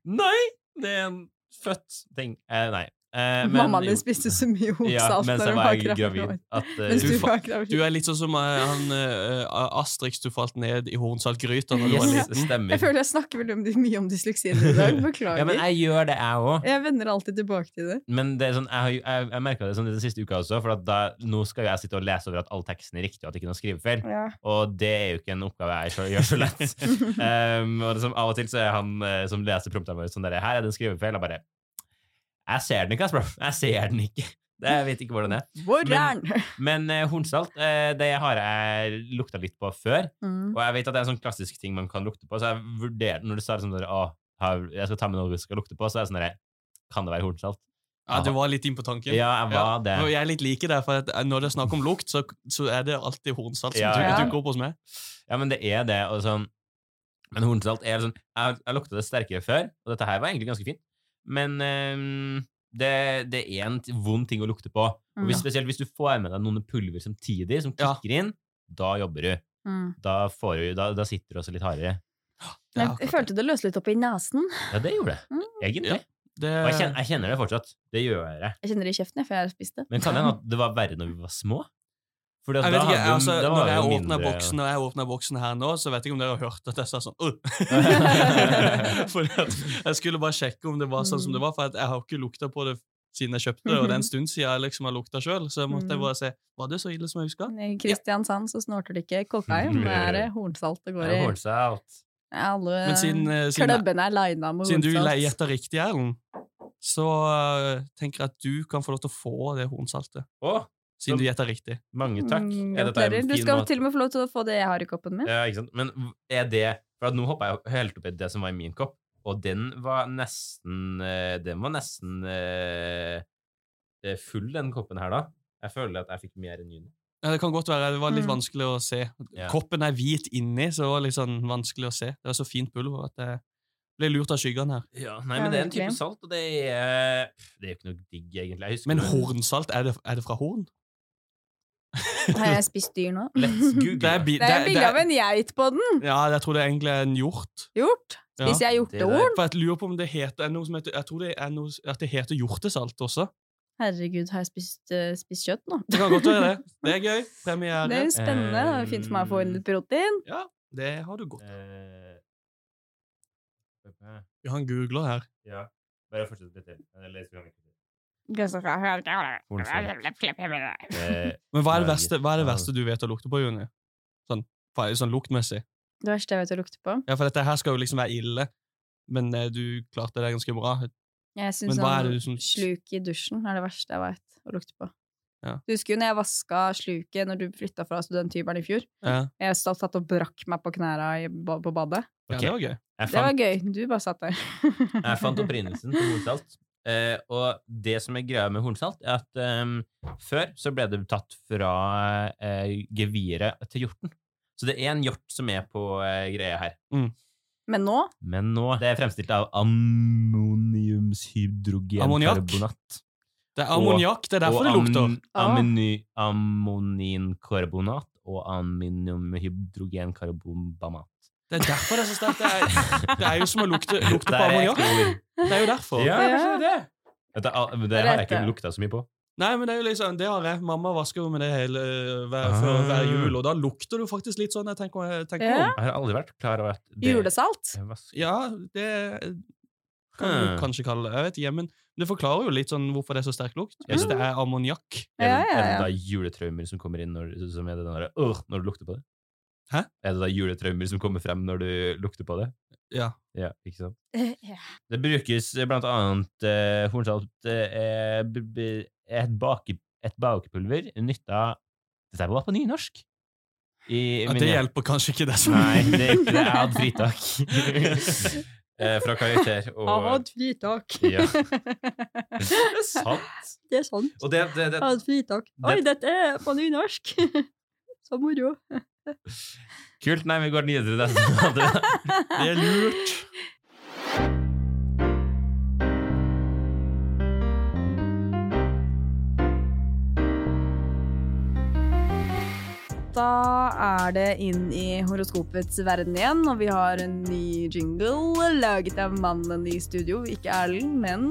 Speaker 2: Nei! Det er en født ting. Eh, nei. Eh, men-
Speaker 1: Mammaen din
Speaker 2: jo.
Speaker 1: spiste så mye
Speaker 2: Ja,
Speaker 1: hornsalt
Speaker 2: mens
Speaker 1: når
Speaker 2: jeg
Speaker 1: hun
Speaker 2: var
Speaker 1: var
Speaker 2: jeg gravid. At, eh,
Speaker 1: Mens
Speaker 3: du
Speaker 1: du
Speaker 3: fa-
Speaker 1: var gravid.
Speaker 3: Du er litt sånn som eh, han eh, Asterix du falt ned i hornsaltgryta da du var
Speaker 2: yes,
Speaker 3: liten.
Speaker 2: det stemmer.
Speaker 1: Jeg føler jeg snakker veldig om- mye om dysleksien i dag. Beklager.
Speaker 2: Ja, men
Speaker 1: jeg...
Speaker 2: jeg gjør det, jeg òg.
Speaker 1: vender alltid tilbake til det.
Speaker 2: Men det er sånn, jeg, har jo- jeg, jeg merka det sånn i den siste uka også, for at da, nå skal jo jeg sitte og lese over at all teksten er riktig, og at det ikke er noe skrivefeil. Og det er jo ikke en oppgave jeg selv, gjør så lett. um, og liksom, av og til så er han eh, som leser promptene våre sånn der, her er det en skrivefeil, og bare Jeg ser den ikke, Asbjørn. Jeg ser den ikke. Det, jeg vet ikke hvordan det er.
Speaker 1: Hvor
Speaker 2: Men-
Speaker 1: er den?
Speaker 2: Men eh, hornsalt, eh, det har jeg lukta litt på før.
Speaker 1: Mm.
Speaker 2: Og jeg vet at det er en sånn klassisk ting man kan lukte på, så jeg vurderer når du sa liksom, der, «Å, har- jeg skal ta med noe du skal lukte på, så er jeg sånn der, Kan det være hornsalt?
Speaker 3: Ja, du var litt inn på tanken.
Speaker 2: Ja, jeg var det.
Speaker 3: Og jeg er litt like der, for at eh, når det er snakk om lukt, så, så er det alltid hornsalt som
Speaker 2: Ja,
Speaker 3: du,
Speaker 1: ja.
Speaker 3: dukker opp hos meg.
Speaker 2: Ja, men det er det. Og sånn, men hornsalt er sånn jeg, jeg lukta det sterkere før, og dette her var egentlig ganske fint. Men ehm, det, det er en t- vond ting å lukte på. Og
Speaker 1: Mm.
Speaker 2: hvis, spesielt hvis du får med deg noen pulver samtidig, som
Speaker 3: Ja.
Speaker 2: kikker inn, da jobber du.
Speaker 1: Mm.
Speaker 2: Da, får du, da, da sitter du også litt hardere.
Speaker 1: Men
Speaker 3: Ja, akkurat
Speaker 1: jeg følte det løs litt opp i nesen.
Speaker 2: Ja, det gjorde jeg.
Speaker 1: Mm.
Speaker 2: Egentlig.
Speaker 3: Ja. Det,
Speaker 2: Og jeg kjenner, jeg kjenner det fortsatt. Det gjør jeg.
Speaker 1: Jeg kjenner det i kjeften jeg, for jeg har spist det.
Speaker 2: Men kan det hende at det var verre når vi var små? Fordi at
Speaker 3: jeg
Speaker 2: da
Speaker 3: vet ikke,
Speaker 2: hadde vi-
Speaker 3: altså,
Speaker 2: da var
Speaker 3: når
Speaker 2: vi jo
Speaker 3: jeg åpner
Speaker 2: mindre-
Speaker 3: boksen, når jeg åpner boksen her nå, så vet jeg ikke om dere har hørt at jeg sa sånn «Åh!» Fordi at Jeg skulle bare sjekke om det var sånn som det var, for at jeg har ikke lukta på det siden jeg kjøpte det, og det er en stund siden jeg liksom har lukta sjøl, så jeg måtte
Speaker 1: Mm.
Speaker 3: bare se Var det så ille som jeg huska?
Speaker 1: I Kristiansand så snorter det ikke kokain, det er det hornsalt det
Speaker 2: Ja,
Speaker 1: går i.
Speaker 2: Hornsalt.
Speaker 1: Alle
Speaker 3: Men siden, eh, siden,
Speaker 1: klubben er lina med
Speaker 3: siden du
Speaker 1: hornsalt.
Speaker 3: gjetter riktig, Erlend, så eh, tenker jeg at du kan få lov til å få det hornsaltet.
Speaker 2: Å, Så-
Speaker 3: Siden du gjetter riktig.
Speaker 2: mange takk.
Speaker 1: Mm,
Speaker 2: Er dette en
Speaker 1: gratulerer. Du
Speaker 2: fin
Speaker 1: skal
Speaker 2: måte-
Speaker 1: til og med få lov til å få det jeg har i koppen min.
Speaker 2: Ja, ikke sant? Men v- er det For at nå hoppa jeg helt opp i det som var i min kopp, og den var nesten eh, Den var nesten eh, eh, full, den koppen her, da. Jeg føler at jeg fikk mer enn Juni.
Speaker 3: Ja, det kan godt være. Det var litt
Speaker 1: Mm.
Speaker 3: vanskelig å se.
Speaker 2: Ja.
Speaker 3: Koppen er hvit inni, så det var litt sånn vanskelig å se. Det var så fint pulver at jeg ble lurt av skyggene her.
Speaker 2: Ja, nei,
Speaker 1: Ja,
Speaker 2: men det er en
Speaker 1: virkelig.
Speaker 2: type salt, og det er Det er jo ikke noe digg, egentlig. Jeg husker
Speaker 3: Men
Speaker 2: det-
Speaker 3: hornsalt, er det, er det fra horn?
Speaker 1: Har jeg spist dyr nå?
Speaker 2: Let's google.
Speaker 3: Det er, bi-
Speaker 1: Det er en bilde av en geit på den.
Speaker 3: Ja, jeg tror det egentlig er en hjort.
Speaker 1: Hjort.
Speaker 3: Ja.
Speaker 1: Spiser jeg
Speaker 2: Det der-
Speaker 1: hjortehorn?
Speaker 3: For jeg lurer på om det heter, er det noe som heter Jeg tror det er noe at det heter hjortesalt også.
Speaker 1: Herregud, har jeg spist, eh, spist kjøtt nå?
Speaker 3: Det kan godt være det. Det er gøy. Premiere.
Speaker 1: Det er jo spennende. Det er jo fint for meg å få inn litt protein.
Speaker 3: Ja, det har du godt.
Speaker 2: Eh,
Speaker 3: Ja, Han googler her.
Speaker 2: Ja. Bare fortsett litt til. Jeg leser fram litt. Eh,
Speaker 3: Men hva er
Speaker 2: Nei,
Speaker 3: det verste, hva er det
Speaker 2: ja.
Speaker 3: verste du vet å lukte på, Juni? Sånn, fa- sånn luktmessig.
Speaker 1: Det verste jeg vet å lukte på.
Speaker 3: Ja, for dette her skal jo liksom være ille, men eh, du klarte det ganske bra.
Speaker 1: Jeg synes
Speaker 3: Men hva er
Speaker 1: sånn
Speaker 3: det du som
Speaker 1: sluk i dusjen er det verste jeg vet å lukte på.
Speaker 3: Ja.
Speaker 1: Du husker jo når jeg vaska sluket når du flytta fra studenthybelen i fjor?
Speaker 3: Ja,
Speaker 1: Jeg satt satt og brakk meg på knæra i, ba- på badet.
Speaker 3: ja
Speaker 2: Ok.
Speaker 3: det var gøy.
Speaker 2: jeg
Speaker 1: Det
Speaker 2: fant
Speaker 1: var gøy. Du bare satt der.
Speaker 2: Jeg fant opprinnelsen til hornsalt. Eh, og det som er greia med hornsalt, er at ehm, før så ble det tatt fra eh, geviret til hjorten. Så det er en hjort som er på eh, greia her.
Speaker 1: Men nå
Speaker 2: Men nå Det er fremstilt av ammoniumshydrogenkarbonat.
Speaker 3: Det er
Speaker 2: Og-
Speaker 3: ammoniakk, det er derfor det lukter.
Speaker 1: Ah.
Speaker 2: ammoni, ammoninkarbonat og ammoniumhydrogenkarbonbamat.
Speaker 3: Det er derfor det er så sterkt. Det er, det er jo som å lukte, lukte på
Speaker 2: Der er
Speaker 3: ammoniakk.
Speaker 2: ekte ord.
Speaker 3: Det er jo derfor.
Speaker 2: Ja,
Speaker 1: Ja.
Speaker 2: kanskje det. er det. Dette er al- Det har jeg ikke
Speaker 1: Rette.
Speaker 2: lukta så mye på.
Speaker 3: Nei, men det er jo liksom, det har jeg. Mamma vasker jo med det hele eh, hver, før
Speaker 2: Ah.
Speaker 3: hver jul, og da lukter du faktisk litt sånn jeg tenker, jeg tenker
Speaker 1: Ja.
Speaker 3: om.
Speaker 2: Jeg har aldri vært klar over at det
Speaker 1: julesalt.
Speaker 2: Jeg vasker-
Speaker 3: Ja, det kan
Speaker 2: Hmm.
Speaker 3: du kanskje kalle det. Jeg vet ikke, men det forklarer jo litt sånn hvorfor det er så sterk lukt. Hvis
Speaker 2: Mm.
Speaker 3: det er ammoniakk
Speaker 2: Er
Speaker 1: Ja,
Speaker 2: det,
Speaker 1: ja,
Speaker 2: er det
Speaker 1: ja.
Speaker 2: da juletraumer som kommer inn når, som er det den der, «Åh», når du lukter på det?
Speaker 3: Hæ?
Speaker 2: Er det da juletraumer som kommer frem når du lukter på det?
Speaker 3: ja.
Speaker 2: Ja, ikke sant?
Speaker 1: Eh, ja.
Speaker 2: Det brukes eh, blant annet eh, hornsalt eh, b- b- et, bake, et bakepulver nytta Dette var på nynorsk. I
Speaker 3: Ja,
Speaker 2: min
Speaker 3: Det
Speaker 2: hjem-
Speaker 3: hjelper kanskje ikke det som
Speaker 2: Nei, det er ikke det. Jeg hadde fritak. Eh, Fra karakter
Speaker 1: Jeg
Speaker 2: og
Speaker 1: hadde fritak.
Speaker 2: Ja. Det er sant!
Speaker 1: det er sant.
Speaker 2: Og det, det, det,
Speaker 1: Jeg hadde fritak. Oi, dette er på nynorsk! Så moro.
Speaker 2: kult. Nei, vi går videre til neste. Det-
Speaker 3: Det er lurt.
Speaker 1: Da er det inn i horoskopets verden igjen, og vi har en ny jingle laget av mannen i studio. Ikke Erlend, men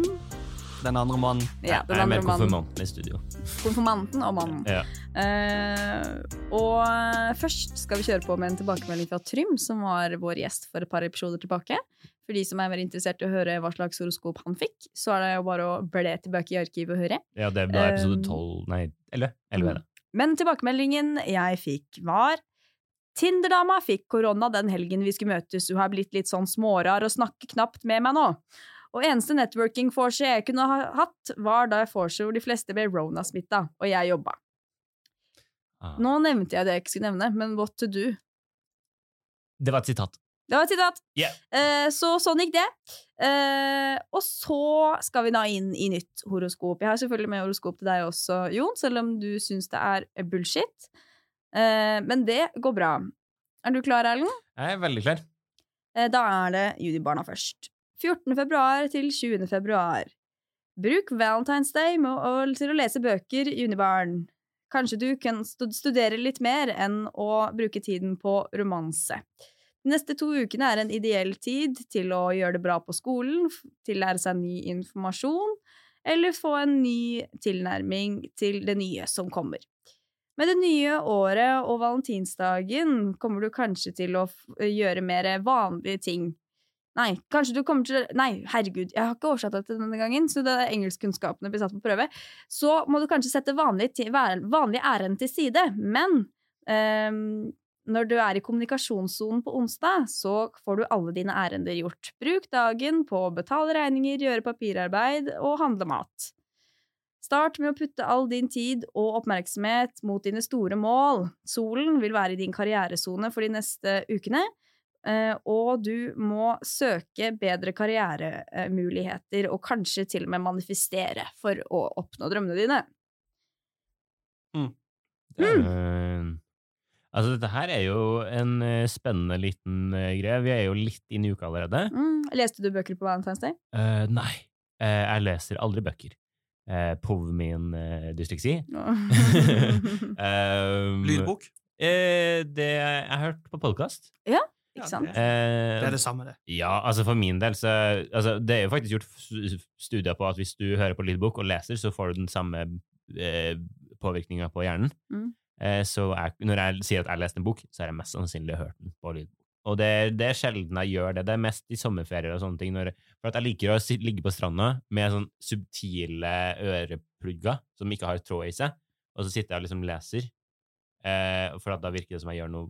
Speaker 3: Den andre mannen.
Speaker 1: ja, den
Speaker 2: Jeg er
Speaker 1: andre
Speaker 2: mer
Speaker 1: mannen.
Speaker 2: konfirmanten i studio.
Speaker 1: Konfirmanten og mannen.
Speaker 2: Ja.
Speaker 1: Eh, og først skal vi kjøre på med en tilbakemelding fra Trym, som var vår gjest for et par episoder tilbake. For de som er mer interessert i å høre hva slags horoskop han fikk, så er det jo bare å ble tilbake i arkivet og høre.
Speaker 2: Ja, det er da episode
Speaker 1: Um,
Speaker 2: 12 Nei, 11. 11 er det.
Speaker 1: Men tilbakemeldingen jeg fikk, var Tinderdama fikk korona den helgen vi skulle møtes, hun har blitt litt sånn smårar og snakker knapt med meg nå. Og eneste networking-vorset jeg kunne ha hatt, var da jeg foreslo de fleste ble rona-smitta, og jeg jobba.
Speaker 2: Ah.
Speaker 1: Nå nevnte jeg det jeg ikke skulle nevne, men what to do?
Speaker 2: Det var et sitat.
Speaker 1: Det var et sitat.
Speaker 2: Ja.
Speaker 1: Eh, så sånn gikk det. Eh, og så skal vi da inn i nytt horoskop. Jeg har selvfølgelig med horoskop til deg også, Jon, selv om du syns det er bullshit. Eh, men det går bra. Er du klar, Erlend?
Speaker 2: Jeg er veldig klar.
Speaker 1: Eh, Da er det Judibarna først. 14. februar til 20. februar. Bruk Valentine's Day med å, til å lese bøker, Junibarn. Kanskje du kan stu- studere litt mer enn å bruke tiden på romanse. De neste to ukene er en ideell tid til å gjøre det bra på skolen, f- tillære seg ny informasjon, eller få en ny tilnærming til det nye som kommer. Med det nye året og valentinsdagen kommer du kanskje til å f- eh, gjøre mer vanlige ting. Nei, kanskje du kommer til Nei, herregud, jeg har ikke oversatt dette denne gangen, så da engelskkunnskapene blir satt på prøve. Så må du kanskje sette vanlige, ti- vær- vanlige ærend til side, men ehm, når du er i kommunikasjonssonen på onsdag, så får du alle dine ærender gjort. Bruk dagen på å betale regninger, gjøre papirarbeid og handle mat. Start med å putte all din tid og oppmerksomhet mot dine store mål. Solen vil være i din karrieresone for de neste ukene, eh, og du må søke bedre karrieremuligheter og kanskje til og med manifestere for å oppnå drømmene dine.
Speaker 2: Det
Speaker 3: Mm.
Speaker 2: er, eh, altså, dette her er jo en eh, spennende liten eh, greie. Vi er jo litt inn i uka allerede.
Speaker 1: Mm. Leste du bøker på Valentine's Day?
Speaker 2: Eh, nei, Eh, jeg leser aldri bøker. Uh, Pov min eh, dysleksi.
Speaker 1: Mm.
Speaker 2: Um,
Speaker 3: Lydbok.
Speaker 2: eh, det jeg har hørt på eh, podkast.
Speaker 1: Ikke sant?
Speaker 3: Det er det samme, det.
Speaker 2: ja, altså for min del så altså, Det er jo faktisk gjort s- studier på at hvis du hører på lydbok og leser, så får du den samme eh, påvirkninga på hjernen.
Speaker 1: Mm.
Speaker 2: Eh, så jeg, når jeg sier at jeg leste en bok, så har jeg mest sannsynlig hørt den på lydbok. Og det, det er sjelden jeg gjør det. Det er mest i sommerferier og sånne ting. Når, for at jeg liker å si- ligge på stranda med sånn subtile øreplugger som ikke har tråd i seg, og så sitter jeg og liksom leser. Eh, for at da virker det som jeg gjør noe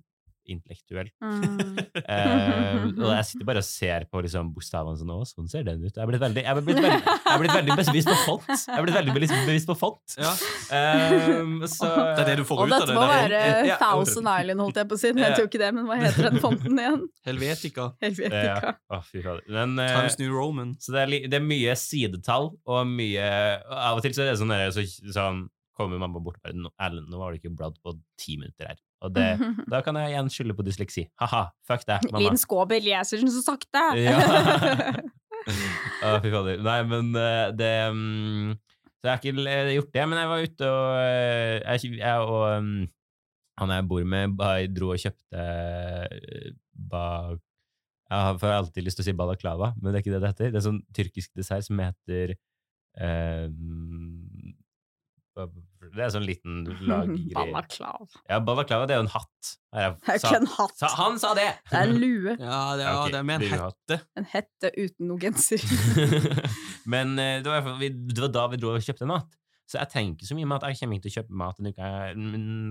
Speaker 2: intellektuelt.
Speaker 1: Mm.
Speaker 2: Eh, og jeg sitter bare og ser på liksom, bokstavene sånn, å, sånn ser den ut. Jeg har blitt veldig, jeg har blitt veldig, jeg har blitt veldig bevisst på font. Jeg har blitt veldig bevisst- bevisst på font.
Speaker 3: Ja.
Speaker 2: Ehm, så,
Speaker 3: Det er det du får
Speaker 1: Og
Speaker 3: ut av
Speaker 1: dette
Speaker 3: det.
Speaker 1: må
Speaker 3: der.
Speaker 1: være
Speaker 3: Ja,
Speaker 1: Thousand Island, holdt jeg på å si. Jeg tror ikke det, men hva heter den fonten igjen?
Speaker 3: Helvetica.
Speaker 1: Helvetica.
Speaker 2: Å, fy fader. Men, eh,
Speaker 3: Times New Roman.
Speaker 2: så det er, li- det er mye sidetall, og mye og Av og til så er det sånn, der, så, sånn kommer mamma bort og bare «Nå- Erlend, nå var du ikke bladd på ti minutter her. Og det, da kan jeg igjen skylde på dysleksi. Ha-ha, fuck deg, mamma.
Speaker 1: Linn Skåber leser den så sakte!
Speaker 2: Ja. Å, fy fader. Nei, men eh, det mm, Så jeg har ikke l- eh, gjort det, men jeg var ute og eh, Jeg, kj- jeg og mm, han jeg bor med, ba- dro og kjøpte eh, ba, Jeg har får alltid lyst til å si balaklava, men det er ikke det det heter. Det er sånn tyrkisk dessert som heter eh, mm, ba- Det er sånn liten laggreie.
Speaker 1: Balaklava.
Speaker 2: Ja, balaklava, det er jo en hatt. Har
Speaker 1: Det er jo
Speaker 2: jeg
Speaker 1: ikke
Speaker 2: sa-
Speaker 1: en hatt.
Speaker 2: sa, han sa det!
Speaker 1: Det er en lue.
Speaker 3: Ja,
Speaker 2: Ja,
Speaker 3: det, ja,
Speaker 2: ok,
Speaker 3: det er med
Speaker 2: det er
Speaker 3: en
Speaker 2: jo
Speaker 3: hette.
Speaker 1: En hette uten noe genser.
Speaker 2: Men eh, det var, i hvert fall- vi, det var da vi dro og kjøpte mat. Så jeg tenker så mye mat. Jeg kommer ikke til å kjøpe mat en uke,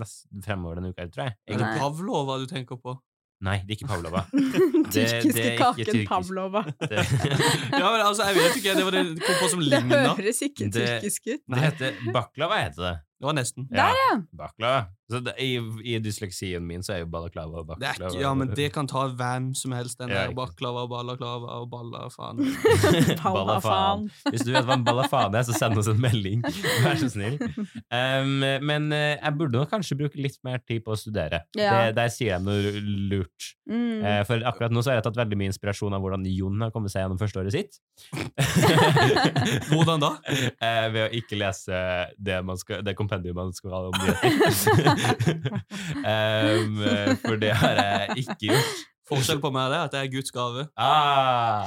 Speaker 2: nest, fremover denne uka, tror jeg.
Speaker 3: Er
Speaker 1: Nei.
Speaker 3: det
Speaker 2: Egentlig.
Speaker 3: Pavlova du tenker på?
Speaker 2: Nei, det er ikke Pavlova. det
Speaker 1: Tyrkiske
Speaker 2: er ikke
Speaker 1: kaken
Speaker 2: tyrkisk.
Speaker 1: Pavlova.
Speaker 2: Det,
Speaker 3: Ja, men altså, jeg vet ikke, Det var det det kom på som
Speaker 1: Det
Speaker 3: ligna.
Speaker 1: høres ikke
Speaker 2: Det-
Speaker 1: tyrkisk ut.
Speaker 2: det heter baklava, heter det.
Speaker 3: Det var nesten.
Speaker 1: Der, ja!
Speaker 2: Baklava. Så det, i, I dysleksien min så er jo balaklava og
Speaker 3: Det er
Speaker 2: baklava.
Speaker 3: ikke, ja, men det kan ta hvem som helst, den
Speaker 2: Ja,
Speaker 3: der
Speaker 2: ikke sant.
Speaker 3: baklava, ballaklava og balla, faen.
Speaker 1: Balafan.
Speaker 2: Hvis du vet hva en balafane er, så send oss en melding. Vær så snill. Um, men eh, jeg burde nok kanskje bruke litt mer tid på å studere.
Speaker 1: Ja.
Speaker 2: Det, der sier jeg noe lurt.
Speaker 1: Mm.
Speaker 2: Eh, for akkurat nå så har jeg tatt veldig mye inspirasjon av hvordan Jon har kommet seg gjennom førsteåret sitt.
Speaker 3: Hvordan da?
Speaker 2: Eh, ved å ikke lese det, man skal, det kompendium man skal ha om nyheter. um, eh, for det har jeg ikke gjort.
Speaker 3: Forskjell på meg er det at jeg er Guds gave.
Speaker 2: Ah,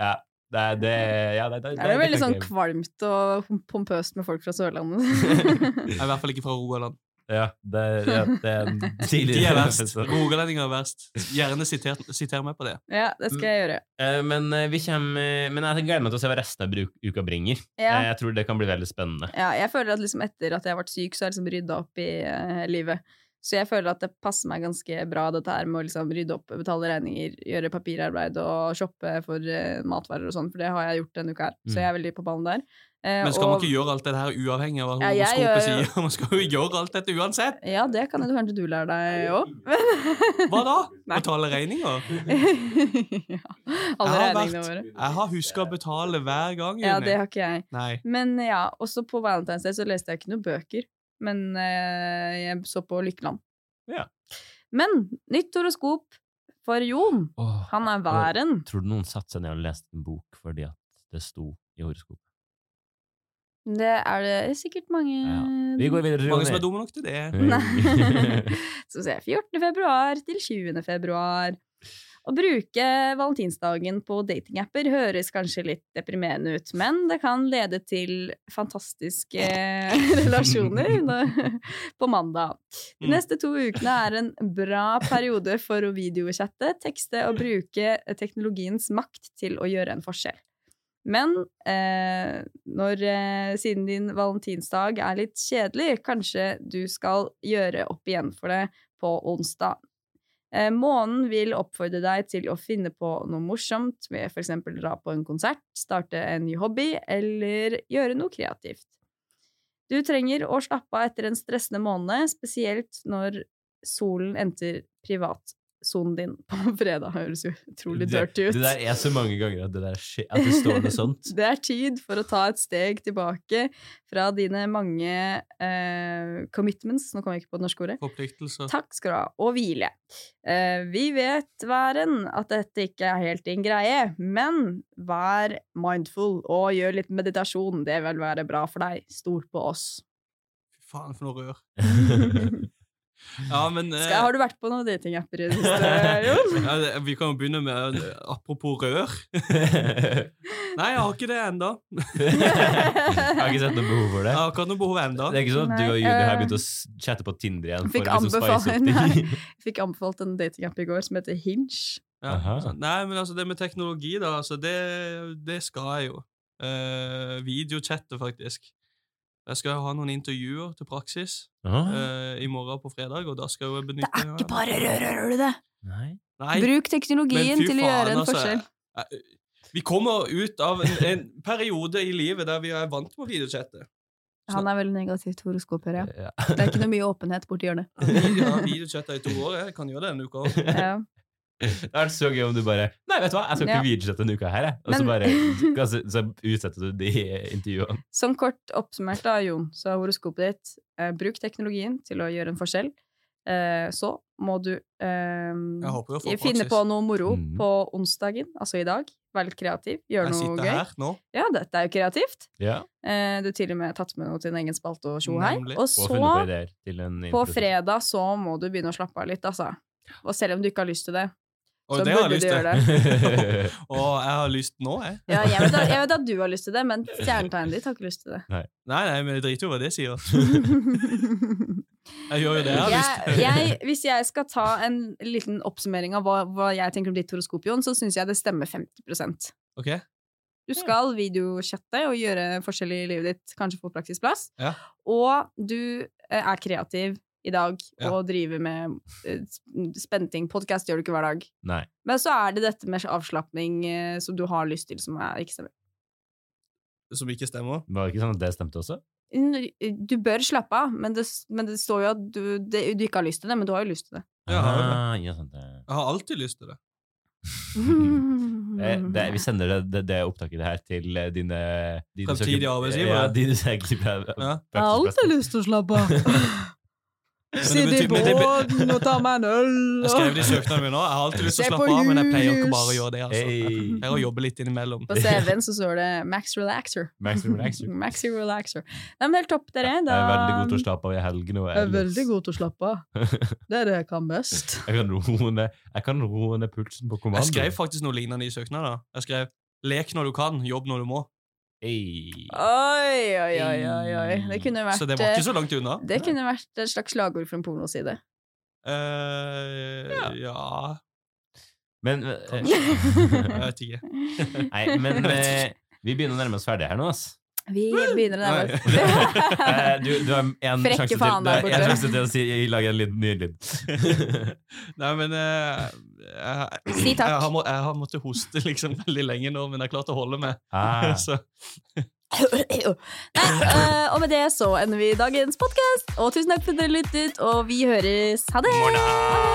Speaker 2: ja, det, er- det, ja, det, det,
Speaker 1: Det er jo veldig sånn
Speaker 2: kan jeg-
Speaker 1: kvalmt og pompøst med folk fra Sørlandet.
Speaker 3: Jeg er i hvert fall ikke fra Rogaland.
Speaker 2: Ja, det, ja, det er en
Speaker 3: De
Speaker 2: tidligere
Speaker 3: er verst.
Speaker 2: episode.
Speaker 3: Rogalendinger er verst. Gjerne siter, siter meg på det.
Speaker 1: ja, det skal jeg gjøre.
Speaker 2: Eh, Men, eh, vi kjem, eh, men jeg gleder meg til å se hva resten av bru- uka bringer.
Speaker 1: Ja.
Speaker 2: Eh, Jeg tror det kan bli veldig spennende.
Speaker 1: Ja, jeg føler at liksom etter at jeg har vært syk, så har jeg liksom rydda opp i eh, livet. Så jeg føler at det passer meg ganske bra, dette her med å liksom rydde opp, betale regninger, gjøre papirarbeid og shoppe for eh, matvarer og sånn, for det har jeg gjort denne uka her.
Speaker 2: Mm.
Speaker 1: Så jeg er veldig på ballen der. Eh,
Speaker 3: Men skal man
Speaker 1: og-
Speaker 3: ikke gjøre alt det her uavhengig av hva
Speaker 1: Ja, jeg
Speaker 3: horoskopet
Speaker 1: gjør jo-
Speaker 3: sier? Man skal jo gjøre alt dette uansett!
Speaker 1: Ja, det kan jo kanskje du lære
Speaker 2: Eh,
Speaker 1: deg òg.
Speaker 3: Hva da?
Speaker 1: Nei.
Speaker 3: Betale regninger?
Speaker 1: ja. Alle
Speaker 3: Jeg har
Speaker 1: regningene våre.
Speaker 3: Jeg har huska å betale hver gang, Juni.
Speaker 1: Ja, det har ikke jeg.
Speaker 3: Nei.
Speaker 1: Men eh, ja, også på Valentine's Day så leste jeg ikke noen bøker. Men eh, jeg så på Lykkeland.
Speaker 2: Ja.
Speaker 1: Men nytt horoskop for Jon.
Speaker 2: Åh,
Speaker 1: Han er væren.
Speaker 2: Tror du noen satte seg ned og leste en bok fordi at det sto i horoskopet?
Speaker 1: Det er det sikkert mange
Speaker 2: Ja. Vi går videre.
Speaker 3: Mange som er
Speaker 2: Ronny.
Speaker 3: dumme nok til det.
Speaker 1: Nei. Så ser jeg 14. februar til 20. februar. Å bruke valentinsdagen på datingapper høres kanskje litt deprimerende ut, men det kan lede til fantastiske relasjoner nå- på mandag. De neste to ukene er en bra periode for å videochatte, tekste og bruke teknologiens makt til å gjøre en forskjell. Men eh, når eh, siden din valentinsdag er litt kjedelig, kanskje du skal gjøre opp igjen for det på onsdag. Eh, månen vil oppfordre deg til å finne på noe morsomt, med f.eks. dra på en konsert, starte en ny hobby eller gjøre noe kreativt. Du trenger å slappe av etter en stressende måned, spesielt når solen entrer privatsonen din på fredag. Høres jo utrolig dirty ut.
Speaker 2: Det, det der er så mange ganger at det, der, skje- at det står noe sånt.
Speaker 1: Det er tid for å ta et steg tilbake fra dine mange eh, commitments Nå kom jeg ikke på det norske ordet.
Speaker 3: Forpliktelser.
Speaker 1: Takk skal du ha, og hvile. Eh, vi vet, væren, at dette ikke er helt din greie, men vær mindful og gjør litt meditasjon. Det vil være bra for deg. Stol på oss.
Speaker 3: Fy faen, for noe rør.
Speaker 1: skal,
Speaker 3: Ja, men eh,
Speaker 1: har du vært på noen datingapper i det siste, Jon?
Speaker 3: ja, det- Vi kan jo begynne med eh, Apropos rør. Nei, jeg har ikke det ennå.
Speaker 2: jeg har ikke sett noe behov for det.
Speaker 3: Jeg har ikke hatt noe behov ennå.
Speaker 2: Det er ikke sånn at
Speaker 1: Nei,
Speaker 2: du og Judy har
Speaker 1: eh,
Speaker 2: begynt å s- chatte på Tinder igjen?
Speaker 1: fikk
Speaker 2: for å liksom spice opp
Speaker 1: anbefaling,
Speaker 2: ting.
Speaker 1: Jeg fikk anbefalt en datingapp i går som heter Hinge.
Speaker 3: Ja.
Speaker 2: Aha.
Speaker 3: så- Nei, men altså, det med teknologi, da, altså, det, det skal jeg jo. Eh, videochatte, faktisk. Jeg skal jo ha noen intervjuer til praksis
Speaker 2: Åh,
Speaker 3: eh, i morgen på fredag, og da skal
Speaker 1: Ah.
Speaker 3: jeg
Speaker 1: Det
Speaker 3: benytte
Speaker 1: er ikke bare rør, hører du det?
Speaker 2: Nei.
Speaker 3: Nei,
Speaker 1: Bruk
Speaker 3: men
Speaker 1: teknologien
Speaker 3: fy
Speaker 1: til å gjøre en
Speaker 3: altså,
Speaker 1: forskjell.
Speaker 3: jeg- eh, Vi kommer ut av en, en periode i livet der vi er vant med å videochatte.
Speaker 1: Han er veldig negativt horoskop, hører jeg.
Speaker 2: Ja.
Speaker 1: Det er ikke noe mye åpenhet borti hjørnet.
Speaker 3: Jeg har videochatta i to år, jeg kan gjøre det en uke òg.
Speaker 1: Ja.
Speaker 2: Det hadde vært så gøy om du bare Nei, vet du hva, jeg skal ikke
Speaker 1: Ja.
Speaker 2: videosette denne uka her, jeg. Og så
Speaker 1: Men-
Speaker 2: bare så, så utsetter du de intervjuene.
Speaker 1: Sånn kort oppsummert, da, Jon, så er horoskopet ditt eh, bruk teknologien til å gjøre en forskjell. Eh, så må du eh,
Speaker 3: Jeg håper jo å få
Speaker 1: finne
Speaker 3: praksis.
Speaker 1: på noe moro
Speaker 2: Mm.
Speaker 1: på onsdagen, altså i dag. Vær litt kreativ, gjør
Speaker 3: Jeg
Speaker 1: noe
Speaker 3: sitter
Speaker 1: gøy.
Speaker 3: her nå.
Speaker 1: Ja, dette er jo kreativt.
Speaker 2: Ja.
Speaker 1: Eh, du har til og med tatt med noe til en egen spalte og tjo og hei.
Speaker 3: Nemlig.
Speaker 1: Og
Speaker 2: Og funnet på
Speaker 1: så,
Speaker 2: ideer til en
Speaker 1: på
Speaker 2: intro.
Speaker 1: fredag, så må du begynne å slappe av litt, altså. Og selv om du ikke har lyst til det,
Speaker 3: Og
Speaker 1: Så
Speaker 3: det har
Speaker 1: burde
Speaker 3: jeg lyst
Speaker 1: du
Speaker 3: til.
Speaker 1: gjøre
Speaker 3: Og jeg har lyst nå, jeg.
Speaker 1: Ja, jeg, vet at, jeg vet at du har lyst til det, men stjernetegnet ditt har ikke lyst til det.
Speaker 3: Nei, nei, men jeg driter jo hva det sier. Jeg gjør jo det jeg har lyst
Speaker 1: jeg, jeg, hvis jeg skal ta en liten oppsummering av hva, hva jeg tenker om ditt horoskop, Jon, så syns jeg det stemmer 50
Speaker 3: Ok,
Speaker 1: Du skal videochatte og gjøre en forskjell i livet ditt, kanskje få praksisplass.
Speaker 3: Ja.
Speaker 1: Og du eh, er kreativ i dag
Speaker 3: Ja.
Speaker 1: og driver med eh, sp- spenting. Podkast gjør du ikke hver dag.
Speaker 2: Nei.
Speaker 1: Men så er det dette med avslapning eh, som du har lyst til, som er ikke stemmer.
Speaker 3: Som ikke stemmer.
Speaker 2: Var det ikke sånn at det stemte også?
Speaker 1: N- Du bør slappe av, men det, s- men det står jo at du, det, du ikke har lyst til det, men du har jo lyst til det.
Speaker 3: Ja,
Speaker 2: ah, ja, sant det.
Speaker 3: Jeg har alltid lyst til det.
Speaker 2: Eh, det, vi sender det, det, det opptaket her til eh, dine, dine
Speaker 3: Fremtidige
Speaker 2: søker-
Speaker 3: arbeidsgivere.
Speaker 2: Ja, dine søker-
Speaker 3: Ja.
Speaker 1: Jeg har alltid lyst til å slappe av. Sitte i
Speaker 3: betyr- men det be-
Speaker 1: båten og ta meg en øl.
Speaker 3: Jeg skrev det i søknaden min nå. Jeg har alltid lyst
Speaker 1: Se
Speaker 3: til å
Speaker 1: på
Speaker 3: slappe av, men jeg pleier jo ikke
Speaker 1: jus.
Speaker 3: bare å gjøre det. altså.
Speaker 2: Hey.
Speaker 3: Jeg har jobbet litt innimellom.
Speaker 1: På CV-en så står det Max Relaxer.
Speaker 2: Max Relaxer.
Speaker 1: Maxi Relaxer. Nei, men helt topp, dere.
Speaker 2: Jeg
Speaker 1: Da,
Speaker 2: er veldig god til å slappe av i helgene. og
Speaker 1: Jeg er
Speaker 2: ellers.
Speaker 1: veldig god til å slappe av. Det er det jeg kan best.
Speaker 2: Jeg kan roe ned, jeg kan roe ned pulsen på kommando.
Speaker 3: Jeg skrev faktisk noe lignende i søknaden. Jeg skrev 'lek når du kan, jobb når du må'.
Speaker 2: Hey.
Speaker 1: Oi, oi, oi, oi. oi. Det kunne vært eh,
Speaker 3: Så det var ikke så langt unna.
Speaker 1: det kunne vært et slags slagord for en pornoside.
Speaker 3: Eh, ja
Speaker 2: Men, eh,
Speaker 3: Jeg vet ikke.
Speaker 2: nei, men eh, vi begynner å nærme oss ferdig her nå, ass.
Speaker 1: Vi begynner å nærme
Speaker 2: Eh,
Speaker 1: oss
Speaker 2: du, du har en
Speaker 1: Frekke
Speaker 2: sjanse til,
Speaker 1: faen
Speaker 2: du
Speaker 1: der
Speaker 2: har en
Speaker 1: borte.
Speaker 2: sjanse til å si, lage en liten ny lyd.
Speaker 3: Nei, men eh, jeg,
Speaker 1: Si takk.
Speaker 3: Jeg har, må, jeg har måttet hoste liksom veldig lenge nå, men jeg har klart å holde meg.
Speaker 2: Ah,
Speaker 3: Så
Speaker 1: Nei, eh, og med det så ender vi dagens podkast. Og tusen takk for at dere lyttet, og vi høres. Ha det!
Speaker 2: morna!